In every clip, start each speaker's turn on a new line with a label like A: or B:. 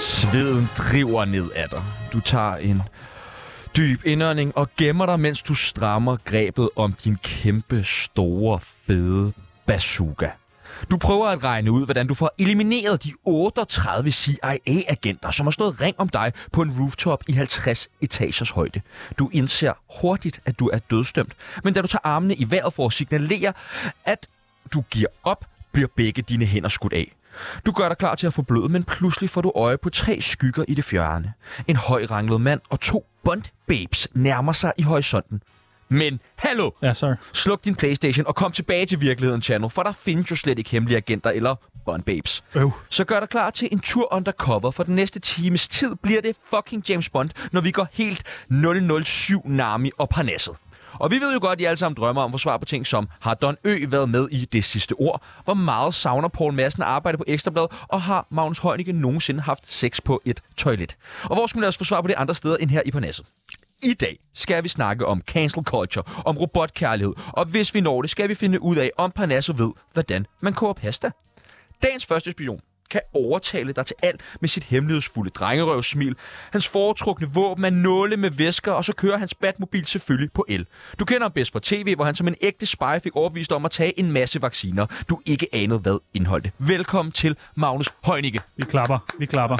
A: Sveden driver ned ad dig. Du tager en dyb indånding og gemmer dig, mens du strammer grebet om din kæmpe, store, fede bazooka. Du prøver at regne ud, hvordan du får elimineret de 38 CIA-agenter, som har stået ring om dig på en rooftop i 50 etagers højde. Du indser hurtigt, at du er dødstømt, men da du tager armene i vejret for at signalere, at du giver op, bliver begge dine hænder skudt af. Du gør dig klar til at få blød, men pludselig får du øje på tre skygger i det fjerne. En højranglet mand og to bondbabes nærmer sig i horisonten. Men hallo!
B: Ja, sorry.
A: Sluk din Playstation og kom tilbage til virkeligheden, Chano, for der findes jo slet ikke hemmelige agenter eller bondbabes.
B: Øv.
A: Så gør dig klar til en tur undercover, for den næste times tid bliver det fucking James Bond, når vi går helt 007 Nami og Parnasset. Og vi ved jo godt, at I alle sammen drømmer om at få svar på ting som, har Don Ø været med i det sidste ord? Hvor meget savner Paul Madsen at arbejde på Ekstrabladet? Og har Magnus Heunicke nogensinde haft sex på et toilet? Og hvor skulle man også få svar på det andre steder end her i Parnasset? I dag skal vi snakke om cancel culture, om robotkærlighed, og hvis vi når det, skal vi finde ud af, om Parnasso ved, hvordan man koger pasta. Dagens første spion kan overtale dig til alt med sit hemmelighedsfulde drengerøvsmil. Hans foretrukne våben er nåle med væsker, og så kører hans Batmobil selvfølgelig på el. Du kender ham bedst fra tv, hvor han som en ægte spy fik overbevist om at tage en masse vacciner, du ikke anede hvad indeholdte. Velkommen til Magnus Heunicke.
B: Vi klapper. Vi klapper.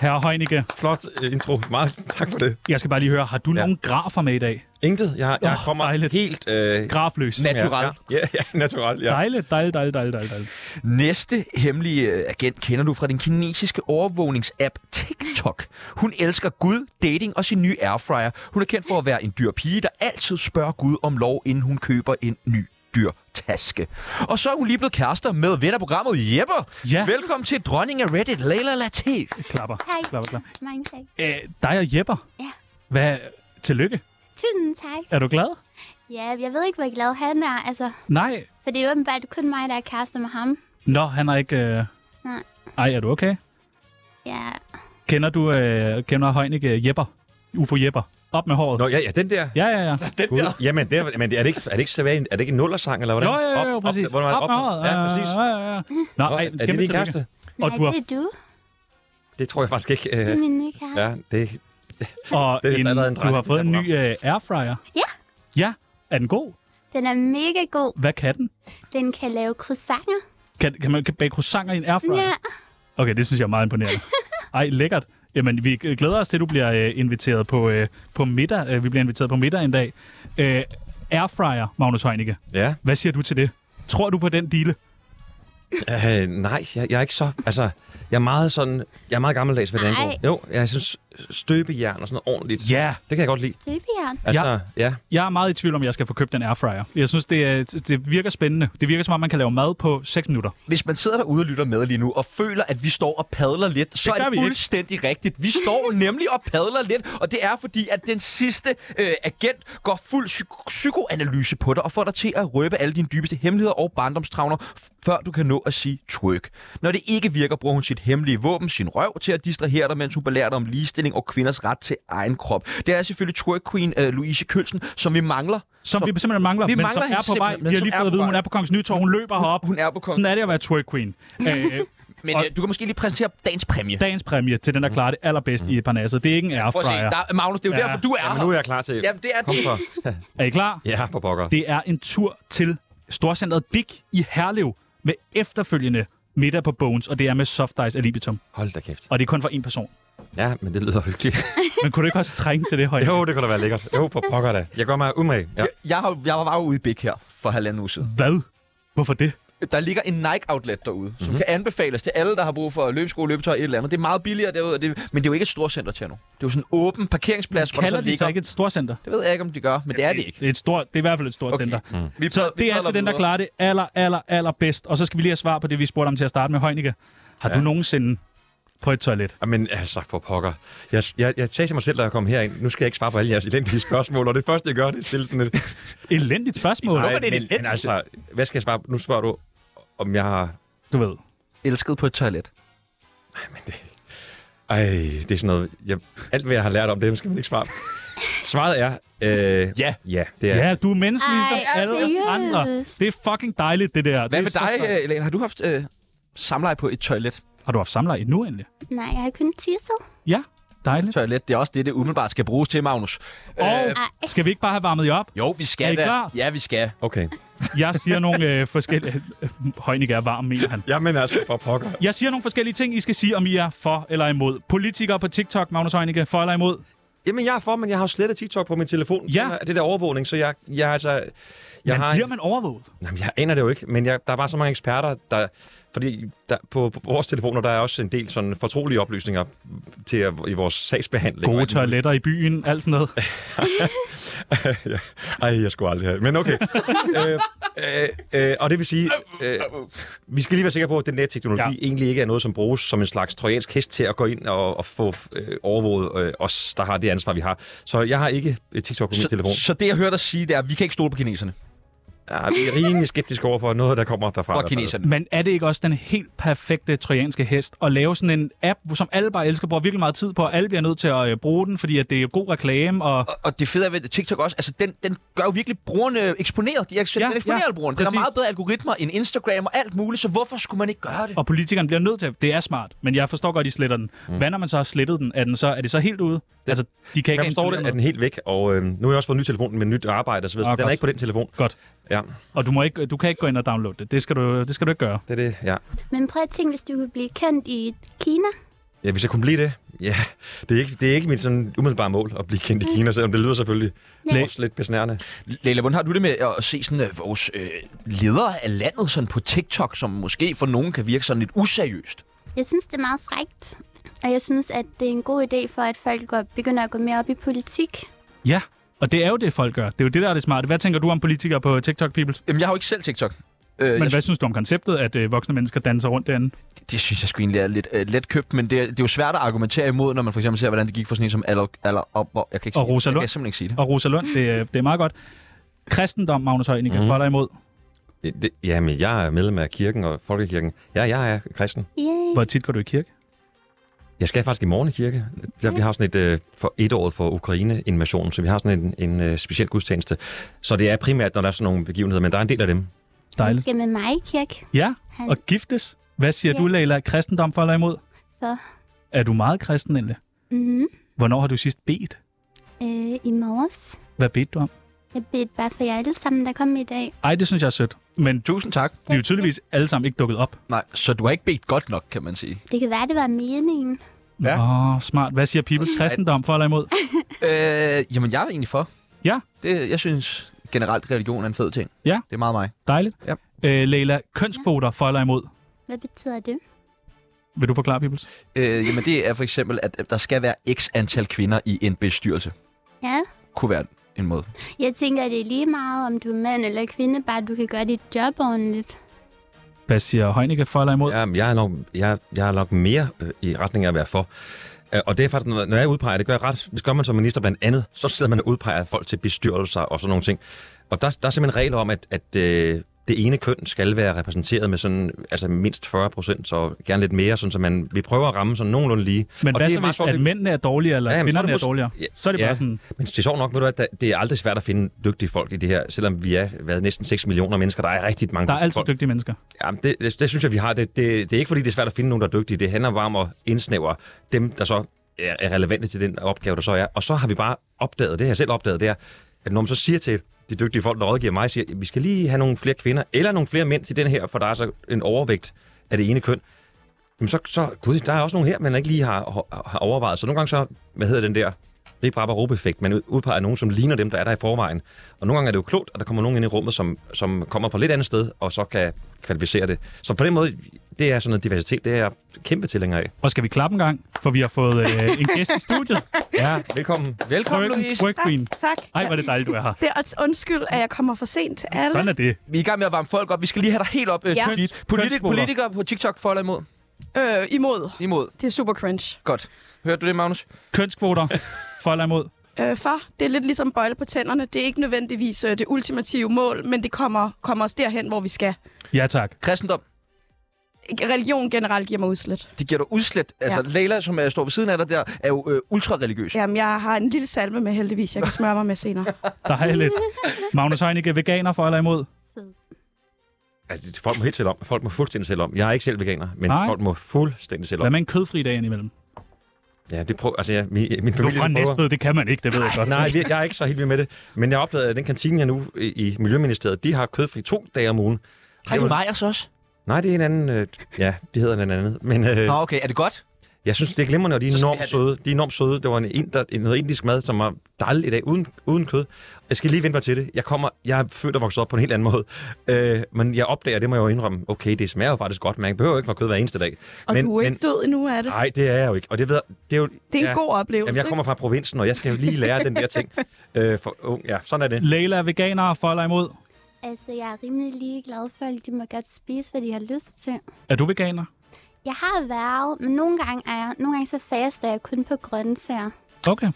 B: Herre Heunicke,
C: Flot øh, intro. Meget tak for det.
B: jeg skal bare lige høre, har du ja. nogle grafer med i dag?
C: Intet. Jeg, jeg
B: Åh,
C: kommer
B: dejligt.
C: helt... Øh,
B: Grafløs.
A: Nat-
C: ja,
A: Natural.
C: Ja, ja, ja natural. Ja.
B: Dejligt, dejligt, dejligt, dejligt, dejligt. dejligt.
A: Næste hemmelige øh, agent kender du fra den kinesiske overvågningsapp TikTok. Hun elsker Gud, dating og sin nye airfryer. Hun er kendt for at være en dyr pige, der altid spørger Gud om lov, inden hun køber en ny dyr taske. Og så er hun lige blevet kærester med ven af programmet Jepper.
B: Ja.
A: Velkommen til dronning af Reddit, Leila Latif.
B: Klapper.
D: Hej.
B: Klapper, klapper.
D: Mange tak.
B: Æ, dig og Jepper.
D: Ja.
B: Hvad? Tillykke.
D: Tusind tak.
B: Er du glad?
D: Ja, jeg ved ikke, hvor glad han er, altså.
B: Nej.
D: For det er åbenbart kun mig, der er kærester med ham.
B: Nå, han er ikke... Øh...
D: Nej.
B: Ej, er du okay?
D: Ja,
B: Kender du øh, kender Heunicke Jepper? UFO Jepper. Op med håret.
C: Nå, ja, ja, den der.
B: Ja, ja, ja.
C: Gud. Jamen, der, men er det ikke, er det ikke, sædvanligt? er det ikke en nullersang, eller hvordan?
B: Jo, jo, jo, jo, præcis.
C: Op, hvordan var det?
B: op, med håret.
C: Ja, præcis.
B: Ja, ja, ja. Nå,
C: Nå,
B: ej,
C: er det
B: kæmpe
C: din
B: tillykke.
C: kæreste?
B: Og
D: nej,
B: du har
D: det er du.
C: Det tror jeg faktisk ikke. Øh,
D: Det er min nye kæreste.
C: ja, det,
B: Og
C: Det er altså
B: en,
C: allerede en
B: du
C: dreng
B: har
C: i
B: fået en
C: det her
B: ny øh, airfryer.
D: Ja.
B: Ja, er den god?
D: Den er mega god.
B: Hvad kan den?
D: Den kan lave croissanter.
B: Kan, kan man bage croissanter i en airfryer?
D: Ja,
B: Okay, det synes jeg er meget imponerende. Ej, lækkert. Jamen, vi glæder os til, at du bliver øh, inviteret på, øh, på middag. Øh, vi bliver inviteret på middag en dag. Øh, airfryer, Magnus Heunicke.
C: ja.
B: Hvad siger du til det? Tror du på den dile?
C: Øh, nej, jeg, jeg, er ikke så... Altså, jeg er meget sådan... Jeg er meget gammeldags, hvad det
D: Ej.
C: angår. Jo, jeg synes støbejern og sådan noget ordentligt.
B: Ja.
C: Det kan jeg godt lide.
D: støbejern.
C: Altså, ja. ja.
B: Jeg er meget i tvivl om, jeg skal få købt den airfryer. Jeg synes, det, er- det virker spændende. Det virker som om, man kan lave mad på 6 minutter.
A: Hvis man sidder derude og lytter med lige nu og føler, at vi står og padler lidt, så
B: gør
A: er
B: vi
A: det
B: ikke.
A: fuldstændig ikke. rigtigt. Vi står nemlig og padler lidt, og det er fordi, at den sidste øh, agent går fuld psyk- psykoanalyse på dig og får dig til at røbe alle dine dybeste hemmeligheder og barndomstravner, f- før du kan nå at sige twerk. Når det ikke virker, bruger hun sit hemmelige våben, sin røv, til at distrahere dig, mens hun belærer dig om ligestilling og kvinders ret til egen krop. Det er selvfølgelig twerk queen øh, Louise Kølsen, som vi mangler.
B: Som vi simpelthen mangler,
A: Vi
B: men
A: mangler
B: som
A: hende
B: er på vej.
A: simpelthen, men
B: Vi har
A: som
B: lige
A: er
B: fået
A: på
B: at vide,
A: vej.
B: hun er på Kongens Nytorv. Hun løber herop.
A: Hun er på Kongens
B: Sådan er det at være twerk queen. Øh,
A: Men
B: Og-
A: øh, du kan måske lige præsentere dagens præmie.
B: dagens præmie til den, der klarer det allerbedst i Parnasset. Det er ikke en
A: Prøv at se,
B: airfryer.
A: der, Magnus, det er jo
B: Ja.
A: derfor, du er
C: Jamen,
A: her.
C: nu er jeg klar til...
A: Jamen, det er
C: Kom
A: det.
C: for.
B: Er I klar?
C: Ja, for pokker.
B: Det er en tur til Storcenteret Big i Herlev med efterfølgende middag på Bones, og det er med soft ice af libitum.
C: Hold da kæft.
B: Og det er kun for en person.
C: Ja, men det lyder hyggeligt.
B: Men kunne du ikke også trænge til det højde?
C: Jo, det kunne da være lækkert. Jo, for pokker da. Jeg gør mig umage. Ja.
A: Jeg, har, jeg var jo ude i Bæk her for halvanden uge siden.
B: Hvad? Hvorfor det?
A: Der ligger en Nike-outlet derude, som
B: Mhm.
A: mm-hmm. kan anbefales til alle, der har brug for løbesko, løbetøj, et eller andet. Det er meget billigere derude, og det, men det er jo ikke et stort center til nu. Det er jo sådan en åben parkeringsplads, hvor der så
B: Kalder de
A: ligger...
B: sig ikke et storcenter?
A: Det ved jeg ikke, om de gør, men det er det ikke.
B: Det er, et stort, det er i hvert fald et stort okay. center.
A: Mm. Vi
B: Så det er til den, der klarer det aller, aller, aller bedst. Og så skal vi lige have svar på det, vi spurgte om til at starte med Heunicke. Har ja. du nogensinde på et toilet?
C: Men altså, for pokker. Jeg, jeg, jeg sagde til mig selv, da jeg kom herind, nu skal jeg ikke svare på alle jeres elendige spørgsmål, og det første, jeg gør, det er at stille sådan et...
B: Elendigt spørgsmål.
A: Hvorfor er det
C: men,
A: elendigt?
C: men altså, hvad skal jeg svare på? Nu spørger du, om jeg har...
B: Du ved.
A: Elsket på et toilet.
C: Men det... Ej, det er sådan noget... Jeg, alt, hvad jeg har lært om det, skal man ikke svare på. Svaret er... Øh, ja. Ja, det er...
B: Ja, du er menneskelig
D: Ej,
B: som alle os
D: seriøst?
B: andre. Det er fucking dejligt, det
A: Hvad
B: der. det
A: med
B: er så
A: dig,
B: smart.
A: øh, Elena? Har du haft øh, samleje på et toilet?
B: Har du haft samleje nu endelig?
D: Nej, jeg har kun tisset.
B: Ja, dejligt.
A: Toilet, det er også det, det umiddelbart skal bruges til, Magnus.
B: Og
C: Øh,
D: Ej.
B: skal vi ikke bare have varmet jer op?
A: Jo, vi skal
B: Er I
A: da.
B: klar?
A: Ja, vi skal.
C: Okay.
B: Jeg siger nogle øh, forskellige... Højnik er varm, mener han.
C: Jamen altså, for pokker.
B: Jeg siger nogle forskellige ting, I skal sige, om I er for eller imod. Politikere på TikTok, Magnus Heunicke, for eller imod?
C: Jamen, jeg er for, men jeg har jo slettet TikTok på min telefon.
B: Ja.
C: Det er Det der overvågning, så jeg, jeg er altså... Jeg
B: Men
C: har
B: bliver man overvåget?
C: Jamen, jeg aner det jo ikke, men jeg, der er bare så mange eksperter, der... Fordi der, på, på vores telefoner, der er også en del sådan fortrolige oplysninger til at, i vores sagsbehandling.
B: Gode
C: Og-
B: toiletter i byen, alt sådan noget.
C: ja. Ej, jeg skulle aldrig have Men okay. øh, øh, øh, og det vil sige, øh, vi skal lige være sikre på, at den der teknologi
B: Ja.
C: ja. egentlig ikke er noget, som bruges som en slags trojansk hest til at gå ind og, og få øh, overvåget øh, os, der har det ansvar, vi har. Så jeg har ikke øh, TikTok på min telefon.
A: Så, så det, jeg hørte dig sige, det er, at vi kan ikke stole på kineserne.
C: Jeg er rimelig skeptisk over for noget, der kommer derfra. i
A: Fra
C: hvert fald.
A: kineserne.
B: Men er det ikke også den helt perfekte trojanske hest at lave sådan en app, som alle bare elsker, bruger virkelig meget tid på, og alle bliver nødt til at øh, bruge den, fordi at det er god reklame, og
A: Og, og det fede er ved TikTok også, altså den, den gør jo virkelig brugerne eksponeret. De er,
B: Ja,
A: ja, den eksponerer
B: ja,
A: ja, brugerne. Den har
B: præcis.
A: meget bedre algoritmer end Instagram og alt muligt, så hvorfor skulle man ikke gøre det?
B: og politikeren bliver nødt til. Det er smart, men jeg forstår godt, at de sletter den. Mm. Hvad når man så har slettet den? Er, den så, er det så helt ude? altså, de kan ikke
C: Jeg forstår
B: installere
C: det, at
B: noget.
C: den er helt væk, og øh, nu har jeg også fået en ny telefon med nyt arbejde osv., så
B: Ah,
C: ah, den
B: godt.
C: er ikke på den telefon.
B: Godt.
C: Ja,
B: Og du, må ikke, du kan ikke gå ind og downloade det. Det skal du, det skal du ikke gøre.
C: det er det, ja.
D: Men prøv at tænke, hvis du kunne blive kendt i Kina.
C: Ja, hvis jeg kunne blive det. Ja, det er ikke, det er ikke mit sådan umiddelbare mål at blive kendt i Kina, selvom det lyder selvfølgelig
D: Ja.
C: også lidt besnærende.
A: Leila, hvordan har du det med at se sådan, øh, vores øh, ledere af landet sådan på TikTok, som måske for nogen kan virke sådan lidt useriøst?
D: Jeg synes, det er meget frægt. Og jeg synes, at det er en god idé for, at folk går, begynder at gå mere op i politik.
B: Ja, og det er jo det, folk gør. Det er jo det, der er det smarte. Hvad tænker du om politikere på TikTok, Peoples?
A: Jamen, jeg har jo ikke selv TikTok. Øh,
B: Men
A: jeg
B: hvad synes du om konceptet, at øh, voksne mennesker danser rundt derinde?
A: Det synes jeg sgu egentlig er lidt øh, let købt, men det, er- det er jo svært at argumentere imod, når man for eksempel ser, hvordan det gik for sådan en som Alok... Alok op, op, jeg kan ikke
B: Og
A: sige-
B: Rosa
A: Jeg
B: Lund.
A: kan simpelthen ikke sige det.
B: Og Rosa Lund, det, øh, det er meget godt. Kristendom, Magnus Højnicke, mm. for dig imod.
C: Det, det, jamen, jeg er medlem af kirken og folkekirken. Ja, jeg er kristen.
D: Yay.
B: Hvor tit går du i kirke?
C: Jeg skal faktisk i morgen i kirke. Der, vi har sådan et øh, for et år for Ukraine-invasionen, så vi har sådan en, en øh, speciel gudstjeneste. Så det er primært, når der er sådan nogle begivenheder, men der er en del af dem.
D: Han
B: Dejligt.
D: skal med mig i kirke.
B: Ja,
D: Han
B: og giftes. Hvad siger
D: Ja.
B: du, Leila? Kristendom for eller imod?
D: for
B: Er du meget kristen egentlig?
D: mm,
B: Hvornår har du sidst bedt?
D: øh, i morges.
B: Hvad bedte du om?
D: Jeg bedte bare for jer alle sammen, der kom i dag.
B: Ej, det synes jeg er sødt. Men du,
A: Tusind tak.
B: vi er jo tydeligvis alle sammen ikke dukket op.
A: Nej, så du har ikke bedt godt nok, kan man sige.
D: Det kan være, det var meningen.
A: Ja.
B: Åh, smart. Hvad siger Peoples? Kristendom for eller imod?
A: øh, jamen, jeg er egentlig for.
B: Ja.
A: Det, jeg synes generelt, religion er en fed ting.
B: Ja.
A: Det er meget mig.
B: Dejligt.
A: Ja.
B: Øh, Leila, kønskvoter for eller imod?
D: Hvad betyder det?
B: Vil du forklare, Peoples?
A: Øh, jamen, det er for eksempel, at øh, der skal være x antal kvinder i en bestyrelse.
D: Ja,
A: Kunne være en måde.
D: jeg tænker, det er lige meget, om du er mand eller kvinde, bare du kan gøre dit job ordentligt.
B: Hvad siger Heunicke for eller imod? Ja.
C: Jeg, jeg, er nok, jeg, jeg er nok mere øh, i retning af at være for. Øh, Og det er faktisk noget, når jeg udpeger, det gør jeg ret. Det gør man som minister blandt andet. Så sidder man og udpeger folk til bestyrelser og sådan nogle ting. Og der, der er simpelthen regler om, at, at øh, det ene køn skal være repræsenteret med sådan, altså mindst 40 procent, og gerne lidt mere, sådan, så man, vi prøver at ramme sådan nogenlunde lige.
B: Men
C: og
B: hvad
C: det
B: så
C: er meget
B: hvis,
C: sjovt,
B: at
C: det-
B: mændene er dårligere, eller
C: Ja,
B: ja,
C: jamen, så er
B: kvinderne er,
C: det
B: er
C: mås-
B: dårligere?
C: Ja,
B: Så er det bare
C: ja.
B: sådan,
C: Men det er sjovt nok, ved du, at der- det er aldrig svært at finde dygtige folk i det her, selvom vi er hvad, næsten 6 millioner mennesker. Der er rigtig mange
B: der er altid
C: folk.
B: dygtige mennesker.
C: Jamen, det, det, det synes jeg, vi har. Det, det, det er ikke, fordi det er svært at finde nogen, der er dygtige. Det handler bare om at indsnævre dem, der så er, er relevante til den opgave, der så er. Og så har vi bare opdaget, det har jeg selv opdaget, det er, at når man så siger til de dygtige folk, der rådgiver mig, siger, vi skal lige have nogle flere kvinder, eller nogle flere mænd til den her, for der er så en overvægt af det ene køn. Jamen så, så gud, der er også nogen her, man ikke lige har, har, har overvejet. Så nogle gange så, hvad hedder den der, rip rap og effekt man ud- udpeger nogen, som ligner dem, der er der i forvejen. Og nogle gange er det jo klogt, at der kommer nogen ind i rummet, som, som kommer fra et lidt andet sted, og så kan kvalificere det. Så på den måde, det er sådan noget diversitet, det er jeg kæmpe tilhænger af.
B: Og skal vi klappe en gang, for vi har fået øh, en gæst i studiet.
C: Ja, velkommen.
A: Velkommen,
B: Frøken
A: Louise.
B: Frøkvin.
E: Tak.
B: Ej, hvor er det dejligt, du er her.
E: Det er også undskyld, at jeg kommer for sent. Alle.
B: Sådan er det.
A: Vi er i gang med at varme folk op. Vi skal lige have dig helt op. Øh,
E: Ja.
A: polit- politi-
B: Kønspoler.
A: politikere på TikTok for eller imod?
E: Øh, imod.
A: Imod.
E: Det er super cringe.
A: Godt. Hørte du det, Magnus?
B: Kønskvoter, for eller imod.
E: Øh, for det er lidt ligesom bøjle på tænderne. Det er ikke nødvendigvis øh, det ultimative mål, men det kommer, kommer os derhen, hvor vi skal.
B: Ja, tak.
A: Kristendom,
E: Religion generelt giver mig udslet.
A: det giver dig udslet. Altså, ja. Leila, som er, står ved siden af dig der, er jo øh, ultrareligiøs. Ja.
E: Jamen, jeg har en lille salve med heldigvis, jeg kan smøre mig med senere.
B: Dejligt. Magnus Heunicke, veganer, for eller imod.
D: Så
C: Altså, folk må helt selv om. Folk må fuldstændig selv om. Jeg er ikke selv veganer, men
B: Nej.
C: Nej. folk må fuldstændig selv
B: Hvad
C: om.
B: med en kødfri dag indimellem?
C: Ja, det prøver... Altså, ja, min, min
B: Du er
C: familie
B: fra
C: prøver.
B: Næstved, det kan man ikke, det ved jeg godt.
C: Nej, vi- jeg er ikke så helt vild med det. Men jeg opdagede, at den kantine, jeg nu i, i Miljøministeriet, de har kødfri to dage om ugen.
A: Har I Majers også?
C: Nej, det er en anden... Øh, ja, de hedder en anden. Men øh,
A: Nå, okay. Er det godt?
C: jeg synes, det er glimrende, og de er
A: Så skal vi
C: enormt
A: have det.
C: søde. De er enormt søde. Det var en, ind, der, en noget indisk mad, som var dejlig i dag, uden, uden kød. Jeg skal lige vente mig til det. Jeg, kommer, jeg er født og vokset op på en helt anden måde. Øh, men jeg opdager, det må jeg jo indrømme, okay, det smager jo faktisk godt, men jeg behøver ikke være kød hver eneste dag.
E: Og
C: men,
E: men, du er ikke
C: men,
E: død endnu af det.
C: Nej, det er jeg jo ikke. Og det, ved, jeg- det er jo...
E: Det er en
C: ja.
E: god oplevelse.
C: Jamen, jeg kommer fra provinsen, og jeg skal jo lige lære den der ting. Øh, for, uh, ja, sådan er det.
B: Leila er veganer, for eller imod?
D: Altså, jeg er rimelig ligeglad for, at de må godt spise, hvad de har lyst til.
B: Er du veganer?
D: Jeg har været, men nogle gange er jeg, nogle gange så faster jeg kun på grøntsager.
B: Okay.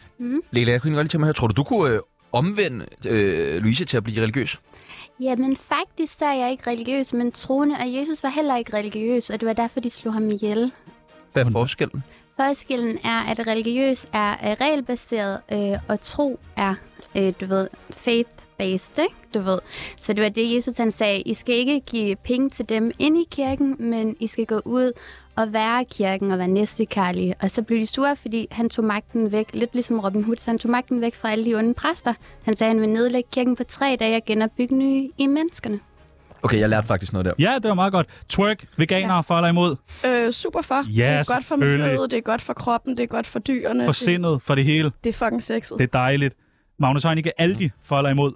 A: Leila, jeg kunne egentlig godt lige tænke mig at høre, tror du, du kunne øh, omvende øh, Louise til at blive religiøs?
D: Jamen, faktisk så er jeg ikke religiøs, men troende, og Jesus var heller ikke religiøs, og det var derfor, de slog ham ihjel.
A: Hvad er forskellen?
D: Forskellen er, at religiøs er øh, regelbaseret, øh, og tro er, øh, du ved, faith-based, ikke? Du ved. Så det var det, Jesus han sagde. I skal ikke give penge til dem ind i kirken, men I skal gå ud og være i kirken og være næstekærlige. Og så blev de sure, fordi han tog magten væk, lidt ligesom Robin Hood, så han tog magten væk fra alle de onde præster. Han sagde, at han ville nedlægge kirken på tre dage og genopbygge nye i menneskerne.
A: Okay, jeg lærte faktisk noget der.
B: Ja, det var meget godt. Twerk, veganer, ja. for eller imod?
E: Øh, super for.
B: Ja,
E: det er godt for
B: selvfølgelig.
E: miljøet, det er godt for kroppen, det er godt for dyrene.
B: For
E: det,
B: sindet, for det hele.
E: det er fucking sexet.
B: Det er dejligt. Magnus Heunicke, Aldi, for eller imod?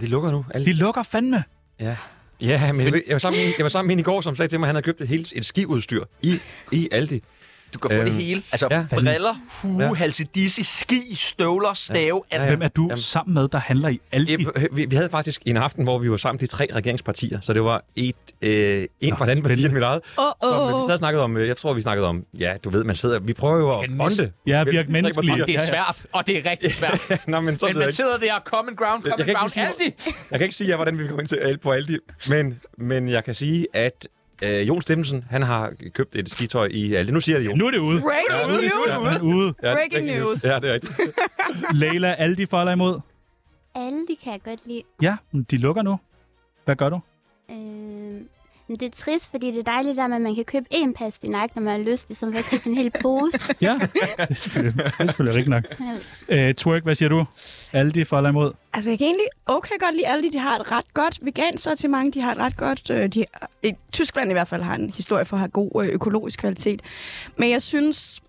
C: De lukker nu. Alle
B: De lukker fandme.
C: Ja. Ja, men jeg, ved- jeg, var sammen med, en- jeg var sammen med en i går, som sagde til mig, at han havde købt et helt et skiudstyr i, i Aldi.
A: Du kan få
C: Øhm,
A: det hele. Altså
C: ja.
A: ja, briller, hue,
C: Ja.
A: ja. halsedisse, ski, støvler, stave, ja. alt.
C: Ja.
B: Hvem er du
C: Jamen.
B: sammen med, der handler i Aldi?
C: Jeg, vi, vi havde faktisk en aften, hvor vi var sammen de tre regeringspartier, så det var et, øh, en fra den parti end mit eget.
E: Åh,
C: Som, øh, vi
E: åh,
C: sad snakket om, øh, jeg tror, vi snakkede om, ja, du ved, man sidder, vi prøver jo at
A: Kan
C: bonde.
B: Ja,
C: Vel,
B: virke
C: de tre
B: menneskelige.
C: partier.
A: Det er svært, og det er rigtig svært.
C: Nå, men så
A: Men
C: ved jeg
A: man
C: ikke.
A: sidder der, common ground,
C: Jeg
A: common
C: kan ikke
A: ground,
C: sige-
A: Aldi.
C: Jeg kan ikke sige, jer, hvordan vi kommer ind til alt på Aldi, men, men jeg kan sige, at øh, Jon Stemmensen, han har købt et skitøj i Aldi. Nu siger jeg det, Jon.
B: Nu er det ude.
E: Breaking
C: Ja,
E: news!
B: Nu er det ude.
C: Ja, det er
E: Breaking
C: rigtigt.
E: news.
C: Ja, det er rigtigt.
B: Leila, Aldi, for eller imod?
D: Alle de kan jeg godt lide.
B: Ja, men de lukker nu. Hvad gør du?
D: Øh, men det er trist, fordi det er dejligt der med, at man kan købe én pastinak, når man har lyst, i stedet for at købe en hel pose.
B: Ja, det er selvfølgelig, det er selvfølgelig rigtigt nok.
D: Ja.
B: Øh, twerk, hvad siger du? Aldi, for eller imod?
E: Altså, jeg kan egentlig okay godt lide alle de, de har et ret godt vegan sortiment. De har et ret godt... Øh, de, i Tyskland i hvert fald har en historie for at have god øh, økologisk kvalitet. Men jeg synes,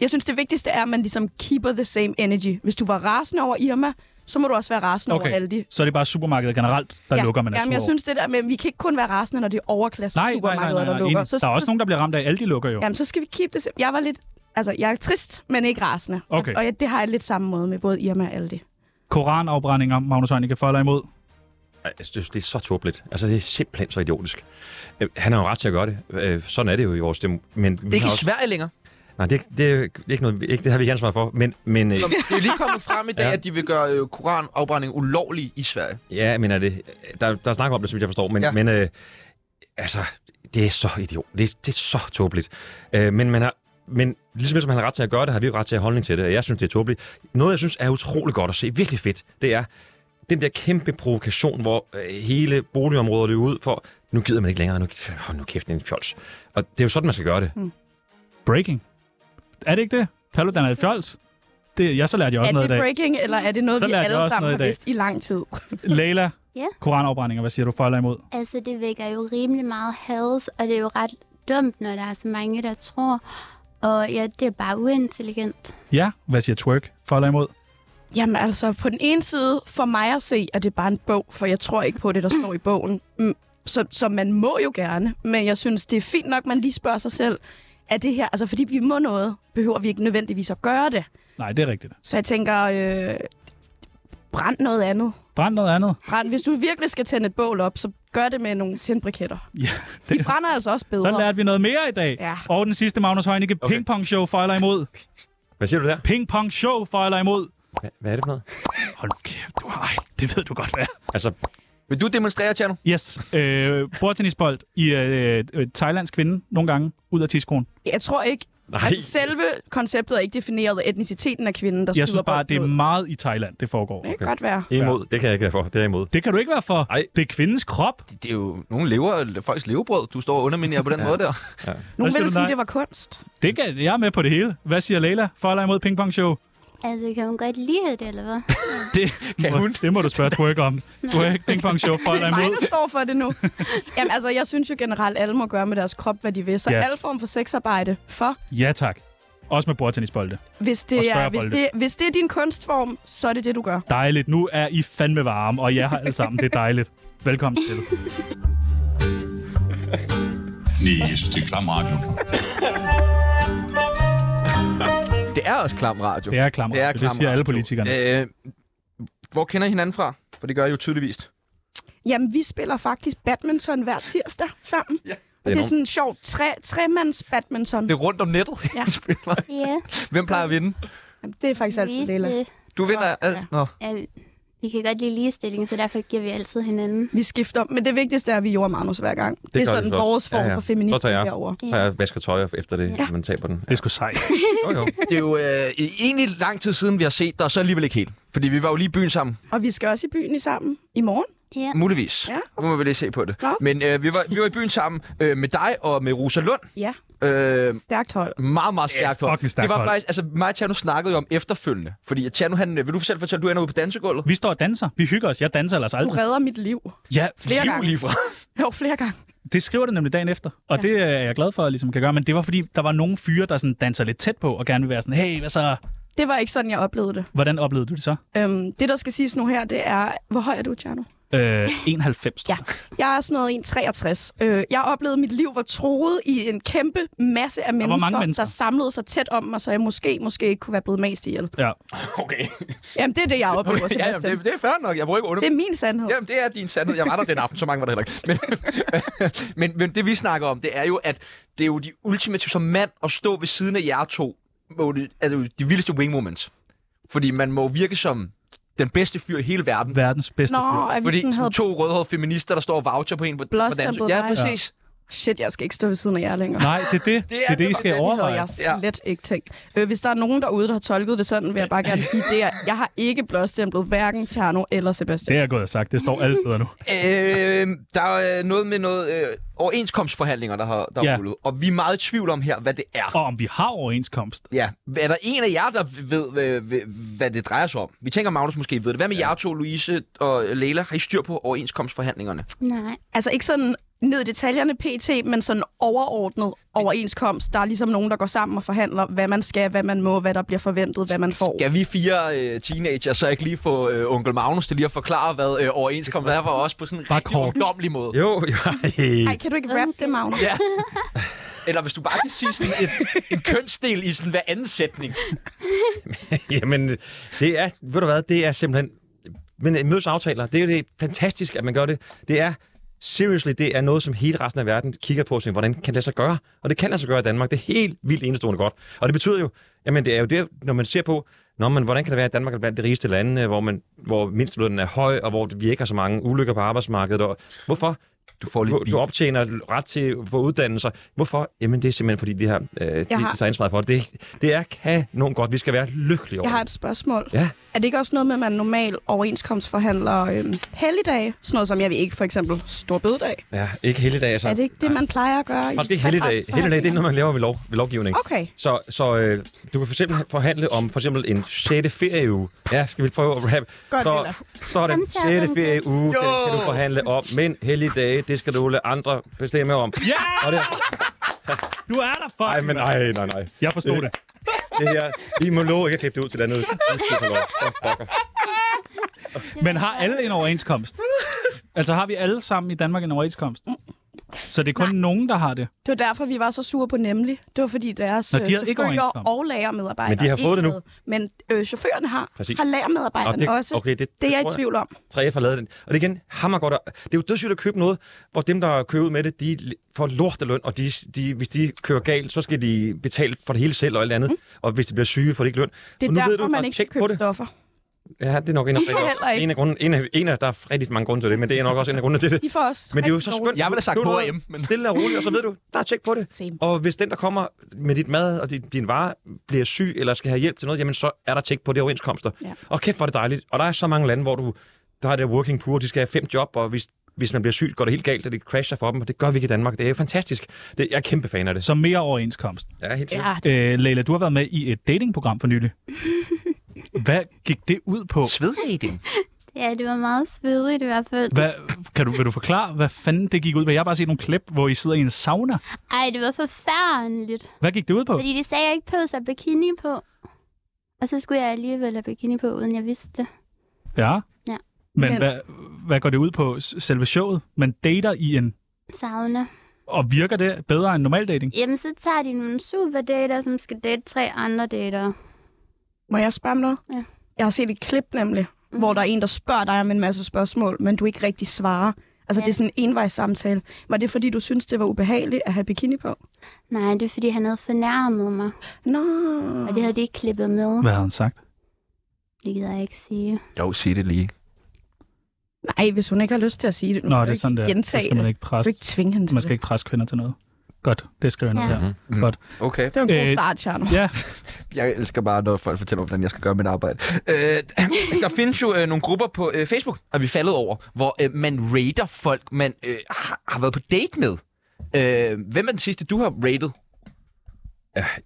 E: jeg synes, det vigtigste er, at man ligesom keeper the same energy. Hvis du var rasende over Irma, så må du også være rasende okay. over alle de.
B: så er det bare supermarkedet generelt, der lukker man er
E: Jamen, jeg
B: sur
E: synes det der med, at vi kan ikke kun være rasende, når det er overklasse
B: over. nej, nej, nej,
E: supermarkeder,
B: nej, nej,
E: der lukker.
B: enig. Der er også nogen, der bliver ramt af, alle de lukker jo.
E: Jamen, så skal vi keep det. sim- Jeg var lidt... Altså, jeg er trist, men ikke rasende.
B: Okay.
E: Og jeg, det har jeg lidt samme måde med både Irma og Aldi.
B: Koranafbrændinger, Magnus Heunicke, for eller imod?
C: Ej, Jeg synes, det er så tåbeligt. Altså, det er simpelthen så idiotisk. Øh, Han har jo ret til at gøre det. Øh, Sådan er det jo i vores demo. Men vi
A: Det er
C: har
A: ikke i
C: også...
A: Sverige længere.
C: Nej, det, er- det, er- det, er ikke noget, ikke, det har vi ikke ansvar for. Men, men, øh,
A: Nå, men Det er lige kommet frem i dag,
C: Ja.
A: at de vil gøre øh, koranafbrænding ulovlig i Sverige.
C: ja, men er det, der, der snakker om det, som jeg forstår. Men, ja.
A: Ja.
C: men øh, altså, det er så idiot. Det, er- det er så tåbeligt. Øh, men man har men ligesom som han har ret til at gøre det, har vi jo ret til at have holdning til det, og jeg synes, det er tåbeligt. Noget, jeg synes er utrolig godt at se, virkelig fedt, det er den der kæmpe provokation, hvor øh, hele boligområdet løber ud for, nu gider man ikke længere, nu, hold nu kæft, det er en fjols. Og det er jo sådan, man skal gøre det.
B: Breaking. Er det ikke det? Kalder du den er et fjols? Det, ja, så lærte jeg også
E: Er
B: noget i
E: det
B: dag.
E: breaking, eller er det noget,
B: Så
E: vi
B: lærte jeg
E: alle
B: også
E: sammen
B: noget i
E: har
B: dag.
E: vidst i lang tid?
B: Leila,
D: Ja.
B: koranafbrændinger, hvad siger du for eller imod?
D: Altså, det vækker jo rimelig meget hads, og det er jo ret dumt, når der er så mange, der tror. Og ja, det er bare uintelligent.
B: Ja, hvad siger twerk for eller imod?
E: Jamen altså, på den ene side, for mig at se, at det er bare en bog, for jeg tror ikke på det, der står i bogen. Mm, Så, så man må jo gerne, men jeg synes, det er fint nok, man lige spørger sig selv, er det her, altså fordi vi må noget, behøver vi ikke nødvendigvis at gøre det.
B: Nej, det er rigtigt.
E: Så jeg tænker, øh, brænd noget andet.
B: Brænd noget andet.
E: Brænd, hvis du virkelig skal tænde et bål op, så gør det med nogle tændbriketter.
B: Ja,
E: De brænder altså også bedre.
B: så lærte vi noget mere i dag.
E: Ja.
B: Og den sidste, Magnus Heunicke, okay. pingpong show for eller imod?
C: Hvad siger du der?
B: Pingpong show for eller imod?
C: Hva- Hvad er det for noget?
B: Hold nu kæft, du har, ej, det ved du godt, hvad er.
C: Altså,
A: Vil du demonstrere, Tjerno?
B: Yes. Øh, bordtennisbold i øh, øh, Thailands kvinde nogle gange ud af tidskronen.
E: Jeg tror ikke,
C: Nej,
E: Altså, selve konceptet er ikke defineret af etniciteten af kvinden, der
B: Jeg
E: skyder
B: synes bare,
E: bolden
B: at det er
E: ud.
B: meget i Thailand, det foregår.
E: Det kan godt være.
C: imod. Det kan jeg ikke være for. Det er jeg imod.
B: Det kan du ikke være for.
C: Ej.
B: Det er kvindens krop.
A: Det, det er jo nogle lever, folks levebrød, du står og underminerer på den ja. måde der.
E: Nogen
B: siger
E: vil
B: du
E: sige,
B: nej?
E: at det var kunst.
B: Det kan, jeg er med på det hele. Hvad siger Leila? For eller imod ping pong show?
D: Altså, kan hun godt lide det, eller hvad?
B: Det,
A: Kan hun?
B: det må du spørge Twerk om. Twerk, ping pong show, for
E: Det
B: eller
E: er mig,
B: imod.
E: der står for det nu. Jamen altså, jeg synes jo generelt, alle må gøre med deres krop, hvad de vil. Så
B: Ja.
E: alle form for sexarbejde for.
B: Ja tak. Også med bordtennisbolde.
E: Hvis
B: Og
E: det, er, hvis,
B: smørbolde.
E: det, hvis det er din kunstform, så er det det, du gør.
B: Dejligt. Nu er I fandme varme, og jeg har alle sammen. Det er dejligt. Velkommen til.
F: Næste, det er klam radio.
A: Det er også klam radio.
B: Det er klammer.
A: Det er
B: det siger
A: klam
B: alle
A: radio.
B: politikerne.
A: Øh, hvor kender I hinanden fra? For det gør I jo tydeligvis.
E: Jamen, vi spiller faktisk badminton hver tirsdag sammen. Ja. Og det er sådan en sjov tre, tremands badminton.
A: Det er rundt om nettet, ja.
E: Ja.
A: spiller.
D: Ja,
A: Hvem plejer at vinde?
E: Jamen, det er faktisk altid Lilla.
D: Lise,
A: Du vinder alt. Nå.
D: ja, vi kan godt lide ligestilling, så derfor giver vi altid hinanden.
E: Vi skifter om. Men det vigtigste er, at vi jorder Magnus hver gang. Det, det er
C: gør
E: sådan
C: vi også.
E: vores form
C: Ja,
E: ja,
C: ja.
E: ja. for
C: Så tager
E: feminisme
C: jeg.
E: herovre.
C: Så jeg vasker tøj efter det, ja. man taber den.
B: Det er sgu sejt.
C: Jo, jo.
A: Det er jo øh, egentlig lang tid siden, vi har set dig, og så alligevel ikke helt. Fordi vi var jo lige i byen sammen.
E: Og vi skal også i byen i sammen i morgen.
D: Ja.
A: Muligvis.
E: Ja.
A: Nu må vi lige se på det.
E: Nå.
A: Men øh, vi, var, vi var i byen sammen øh, med dig og med Rosa Lund.
E: Ja,
A: Øh,
E: stærkt hold.
A: meget, meget stærkt hold.
B: fucking stærkt
A: det var
B: hold.
A: faktisk, altså mig og Tjerno snakkede jo om efterfølgende. Fordi at Tjerno, han, øh, vil du selv fortælle, at du ender ude på dansegulvet?
B: Vi står og danser. Vi hygger os. Jeg danser ellers
E: Du
B: aldrig.
E: redder mit liv.
B: Ja,
E: Flere
A: Liv
E: gange.
A: lige fra.
E: Jo, flere gange.
B: det skriver det nemlig dagen efter. Og det øh, er jeg glad for, at ligesom kan gøre. Men det var fordi, der var nogle fyre, der sådan danser lidt tæt på, og gerne vil være sådan, hey, hvad så?
E: Det var ikke sådan, jeg oplevede det.
B: Hvordan oplevede du det så?
E: Øhm, det, der skal siges nu her, det er... Hvor høj er du, Tjerno?
B: Øh, 91, tror
E: Ja. Jeg er sådan noget 1,63. Øh, jeg oplevede, at mit liv var troet i en kæmpe masse af
B: mange
E: mennesker,
B: mennesker?
E: der samlede sig tæt om mig, så jeg måske, måske ikke kunne være blevet mest ihjel.
B: jeg. Ja.
A: Okay.
E: Jamen, det er det, jeg oplever,
A: okay
E: okay,
A: ja, jamen,
E: Sebastian.
A: det, det, er fair nok. Jeg bruger ikke under...
E: det er min sandhed.
A: Jamen, det er din sandhed. Jeg var der den aften, så mange var der heller ikke. Men, men, men det, vi snakker om, det er jo, at det er jo de ultimative som mand at stå ved siden af jer to. Må det, er det jo de vildeste wing moments. Fordi man må virke som den bedste fyr i hele verden.
B: Verdens bedste
E: Nå,
B: fyr.
E: at vi
A: Fordi
E: sådan havde...
A: sådan to rødhårede feminister, der står og voucher på en på, på dansen.
E: Blåstemplede
A: Ja,
E: dig.
A: præcis.
E: Shit, jeg skal ikke stå ved siden af jer længere.
B: Nej, det er det. Det er det, I skal
E: Det havde
B: overveje.
E: jeg slet ikke tænkt. Øh, hvis der er nogen derude, der har tolket det sådan, vil jeg bare gerne sige, det er, jeg har ikke blåstemplet hverken Tjerno eller
B: Det
E: Sebastian.
B: er jeg gået og sagt. Det står alle steder nu.
A: Øh, der er øh, noget med noget øh, overenskomstforhandlinger, der har der
B: Ja.
A: ja. rullet. Og vi er meget i tvivl om her, hvad det er.
B: Og om vi har overenskomst.
A: Ja, er der en af jer, der ved, hvad, hvad- hvad det drejer sig om? Vi tænker, Magnus måske ved det. Hvad med ja. jer to, Louise og Leila? Har I styr på overenskomstforhandlingerne?
D: Nej.
E: Altså ikke sådan ned i detaljerne pt, men sådan overordnet overenskomst. Der er ligesom nogen, der går sammen og forhandler, hvad man skal, hvad man må, hvad der bliver forventet, hvad man får.
A: Skal vi fire øh, teenager så ikke lige få øh, onkel Magnus til lige at forklare, hvad øh, overenskomst er for os på sådan en
B: Bare
A: rigtig
B: kort.
A: ungdomlig måde?
C: jo, jo.
E: Ej, kan du ikke rappe det, Magnus?
A: Ja. Eller hvis du bare kan sige sådan et, en kønsdel i sådan hver anden sætning.
C: Jamen, det er, ved du hvad, det er simpelthen... Men øh, mødes aftaler, det er jo det fantastisk, at man gør det. Det er, seriously, det er noget, som hele resten af verden kigger på, og siger, hvordan kan det så gøre? Og det kan altså gøre i Danmark. Det er helt vildt enestående godt. Og det betyder jo, jamen det er jo det, når man ser på, Nå, men hvordan kan det være, at Danmark er blandt de rigeste lande, øh, hvor, man, hvor mindstelønnen er høj, og hvor vi ikke har så mange ulykker på arbejdsmarkedet? Og hvorfor?
A: Du får lidt
C: du,
A: bil.
C: du optjener ret til for uddannelser. Hvorfor? Jamen, det er simpelthen, fordi de har, øh, de,
E: har-
C: de tager ansvaret for det. det. Det er kanon godt. Vi skal være lykkelige over
E: Jeg har
C: det.
E: et spørgsmål.
C: Ja.
E: Er det ikke også noget med, at man normalt overenskomstforhandler øhm, helligdage? Sådan noget som, jeg ved ikke, for eksempel Storbededag.
C: Ja, ikke hele dag, altså.
E: Er det ikke det, man plejer at gøre? i
C: Faktisk ikke hele dag. Hele dag, det er
E: trepartsforhandlinger?
C: noget, man laver ved, lov, ved lovgivning.
E: Okay.
C: Så, så øh, du kan for eksempel forhandle om for eksempel en 6. ferieuge. Ja, skal vi prøve at rap?
E: Godt,
C: så,
E: Lilla.
C: så er den
D: Kom så,
C: 6.
D: Ruben.
C: ferieuge, den kan du forhandle om. Men hellige dage, det skal du lade andre bestemme om.
B: Ja!
C: Og det,
B: Du er der for.
C: ej, men nej, nej, nej.
B: Jeg forstod det.
C: Det her, vi må love ikke at klippe det ud til et andet. udklip, eller hvad? Åh, fucker.
B: Men har alle en overenskomst? Altså har vi alle sammen i Danmark en overenskomst? Så det er kun nogen, der har det.
E: Det var derfor, vi var så sure på Nemlig. Det var fordi deres
B: Nå, de havde
E: øh,
B: ikke
E: chauffører
B: overenskomst.
E: og lagermedarbejdere.
C: Men de har fået
E: ikke
C: det nu.
E: havde. Men øh, chaufførerne har,
C: Præcis.
E: har
C: Og
E: lagermedarbejderne
C: det-
E: også.
C: okay, det-
E: det er jeg
C: tror jeg.
E: i tvivl om.
C: 3F har lavet den. Og det er igen hammer godt. Det er jo dødssygt at købe noget, hvor dem, der kører ud med det, de får lorteløn, og de, de, hvis de kører galt, så skal de betale for det hele selv og alt andet. Mm. Og hvis de bliver syge, får de ikke løn.
E: Det
C: og
E: er derfor,
C: og
E: man ikke skal
C: tjek på
E: købe
C: det.
E: stoffer.
C: Ja, det er nok en af,
E: I kan heller ikke.
C: en af grunden, en af, en af, der er rigtig mange grunde til det, men det er nok også en af grundene til det.
E: I får også
C: Men det er jo
E: rigtig
C: så
E: dårligt.
C: skønt.
A: Jeg ville have sagt
C: Nu er du
A: H&M, men-
C: Stille og roligt, og så ved du, der er tjek på det.
E: Same.
C: Og hvis den, der kommer med dit mad og din, din vare, bliver syg eller skal have hjælp til noget, jamen så er der tjek på det overenskomster.
E: Ja.
C: Og kæft, hvor er det dejligt. Og der er så mange lande, hvor du, der er det working poor, de skal have fem job, og hvis, hvis man bliver syg, går det helt galt, og det crasher for dem, og det gør vi ikke i Danmark. Det er jo fantastisk. Det, jeg er kæmpe fan af det.
B: Så mere overenskomst.
C: Ja, helt sikkert.
E: Ja,
B: Øh, Leila, du har været med i et datingprogram for nylig. Hvad gik det ud på?
A: Sveddating.
D: Ja, det var meget svedigt i hvert fald.
B: Hvad, kan du, vil du forklare, hvad fanden det gik ud på? Jeg har bare set nogle klip, hvor I sidder i en sauna.
D: Ej, det var forfærdeligt.
B: Hvad gik det ud på?
D: Fordi de sagde, at jeg ikke behøvede at have bikini på. Og så skulle jeg alligevel have bikini på, uden jeg vidste det.
B: Ja.
D: Ja.
B: Men,
E: Men-
B: Hvad, hvad går det ud på? S- Selve showet? Man dater i en...
D: Sauna.
B: Og virker det bedre end normal dating?
D: Jamen, så tager de nogle superdater, som skal date tre andre dater.
E: Må jeg spørge om noget?
D: Ja. Mhm.
E: Jeg har set et klip nemlig, mm. hvor der er en, der spørger dig om en masse spørgsmål, men du ikke rigtig svarer. Altså,
D: Ja.
E: ja. det er sådan en envejssamtale. Var det, fordi du synes det var ubehageligt at have bikini på?
D: Nej, det er, fordi han havde fornærmet mig.
E: Nå.
D: Og det havde de ikke klippet med.
B: Hvad havde han sagt?
D: Det gider jeg ikke sige.
A: Jo, sig det lige.
E: Nej, hvis hun ikke har lyst til at sige det, nu
B: Nå,
E: kan
B: det
E: du
B: er sådan
E: ikke
B: der. Så
E: gentage
B: skal man
E: det.
B: ikke
E: Du kan
B: presse,
E: ikke tvinge hende til
B: man skal ikke presse kvinder til noget. Godt, det skriver jeg ned
D: Ja.
B: her.
A: Mhm.
B: Godt.
A: Okay.
E: det. Det var en god
B: Øh,
E: start, Tjerno.
B: Ja,
A: Jeg elsker bare, når folk fortæller mig, hvordan jeg skal gøre mit arbejde. Øh, der findes jo øh, nogle grupper på øh, Facebook, og vi er faldet over, hvor øh, man rater folk, man øh, har, har været på date med. Øh, hvem er den sidste, du har rated,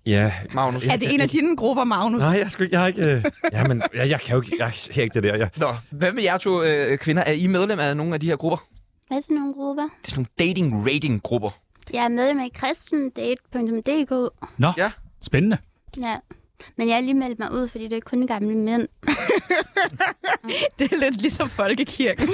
C: Ja.
A: Magnus?
E: Er det en af dine grupper, Magnus?
C: Nej, jeg, skal, ikke- jeg har ikke... Øh... Ja, men jeg, jeg kan jo ikke... Jeg ser ikke det der. Jeg,
A: Nå, hvad med jer to øh, kvinder? Er I medlem af nogle af de her grupper?
D: Hvad for nogle grupper?
A: Det er sådan nogle dating-rating-grupper.
D: Jeg er medlem af kristendate.dk.
B: nå.
A: Ja.
B: Spændende.
D: Ja. Men jeg har lige meldt mig ud, fordi det er kun gamle mænd.
E: Det er lidt ligesom folkekirken.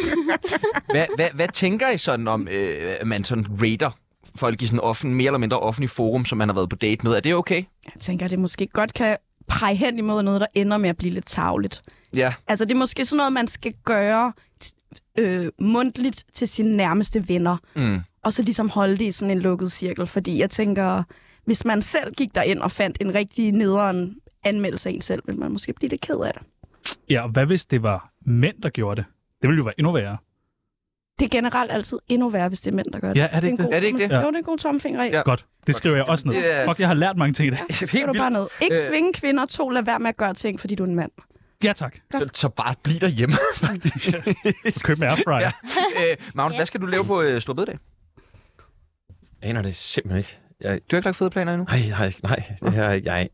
A: Hvad, hvad, hvad tænker I sådan om, øh, at man sådan rater folk i sådan offen, mere eller mindre offentlig forum, som man har været på date med? Er det okay?
E: Jeg tænker, at det måske godt kan pege hen imod noget, der ender med at blive lidt tavligt.
A: Ja.
E: Altså, det er måske sådan noget, man skal gøre t- øh, mundtligt til sine nærmeste venner.
A: Mm.
E: og så ligesom holde det i sådan en lukket cirkel, fordi jeg tænker, hvis man selv gik derind og fandt en rigtig nederen anmeldelse af en selv, ville man måske blive lidt ked af det.
B: Ja, og hvad hvis det var mænd, der gjorde det? Det ville jo være endnu værre.
E: Det er generelt altid endnu værre, hvis det er mænd, der gør det.
B: Ja, er det ikke
E: en
B: det?
E: god
A: Er det ikke det?
E: tomme- Jo, det er en god tommelfingerregel.
A: Ja.
E: Ja.
B: Godt. Det skriver jeg også ned.
A: Det er-
B: Fuck, jeg har lært mange ting i dag.
E: Gør du bare noget. Ikke
A: Øh.
E: tvinge kvinder. To, lad være med at gøre ting, fordi du er en mand.
B: Ja, tak.
A: Så, så bare bliv derhjemme, faktisk.
B: Køb med airfryer.
A: Ja. øh, Magnus, hvad skal du lave på øh, Storbededag?
C: aner det simpelthen ikke. Jeg,
A: Du har ikke lagt fede planer endnu?
C: nej, jeg, har ikke- nej, det her er ikke... Jeg,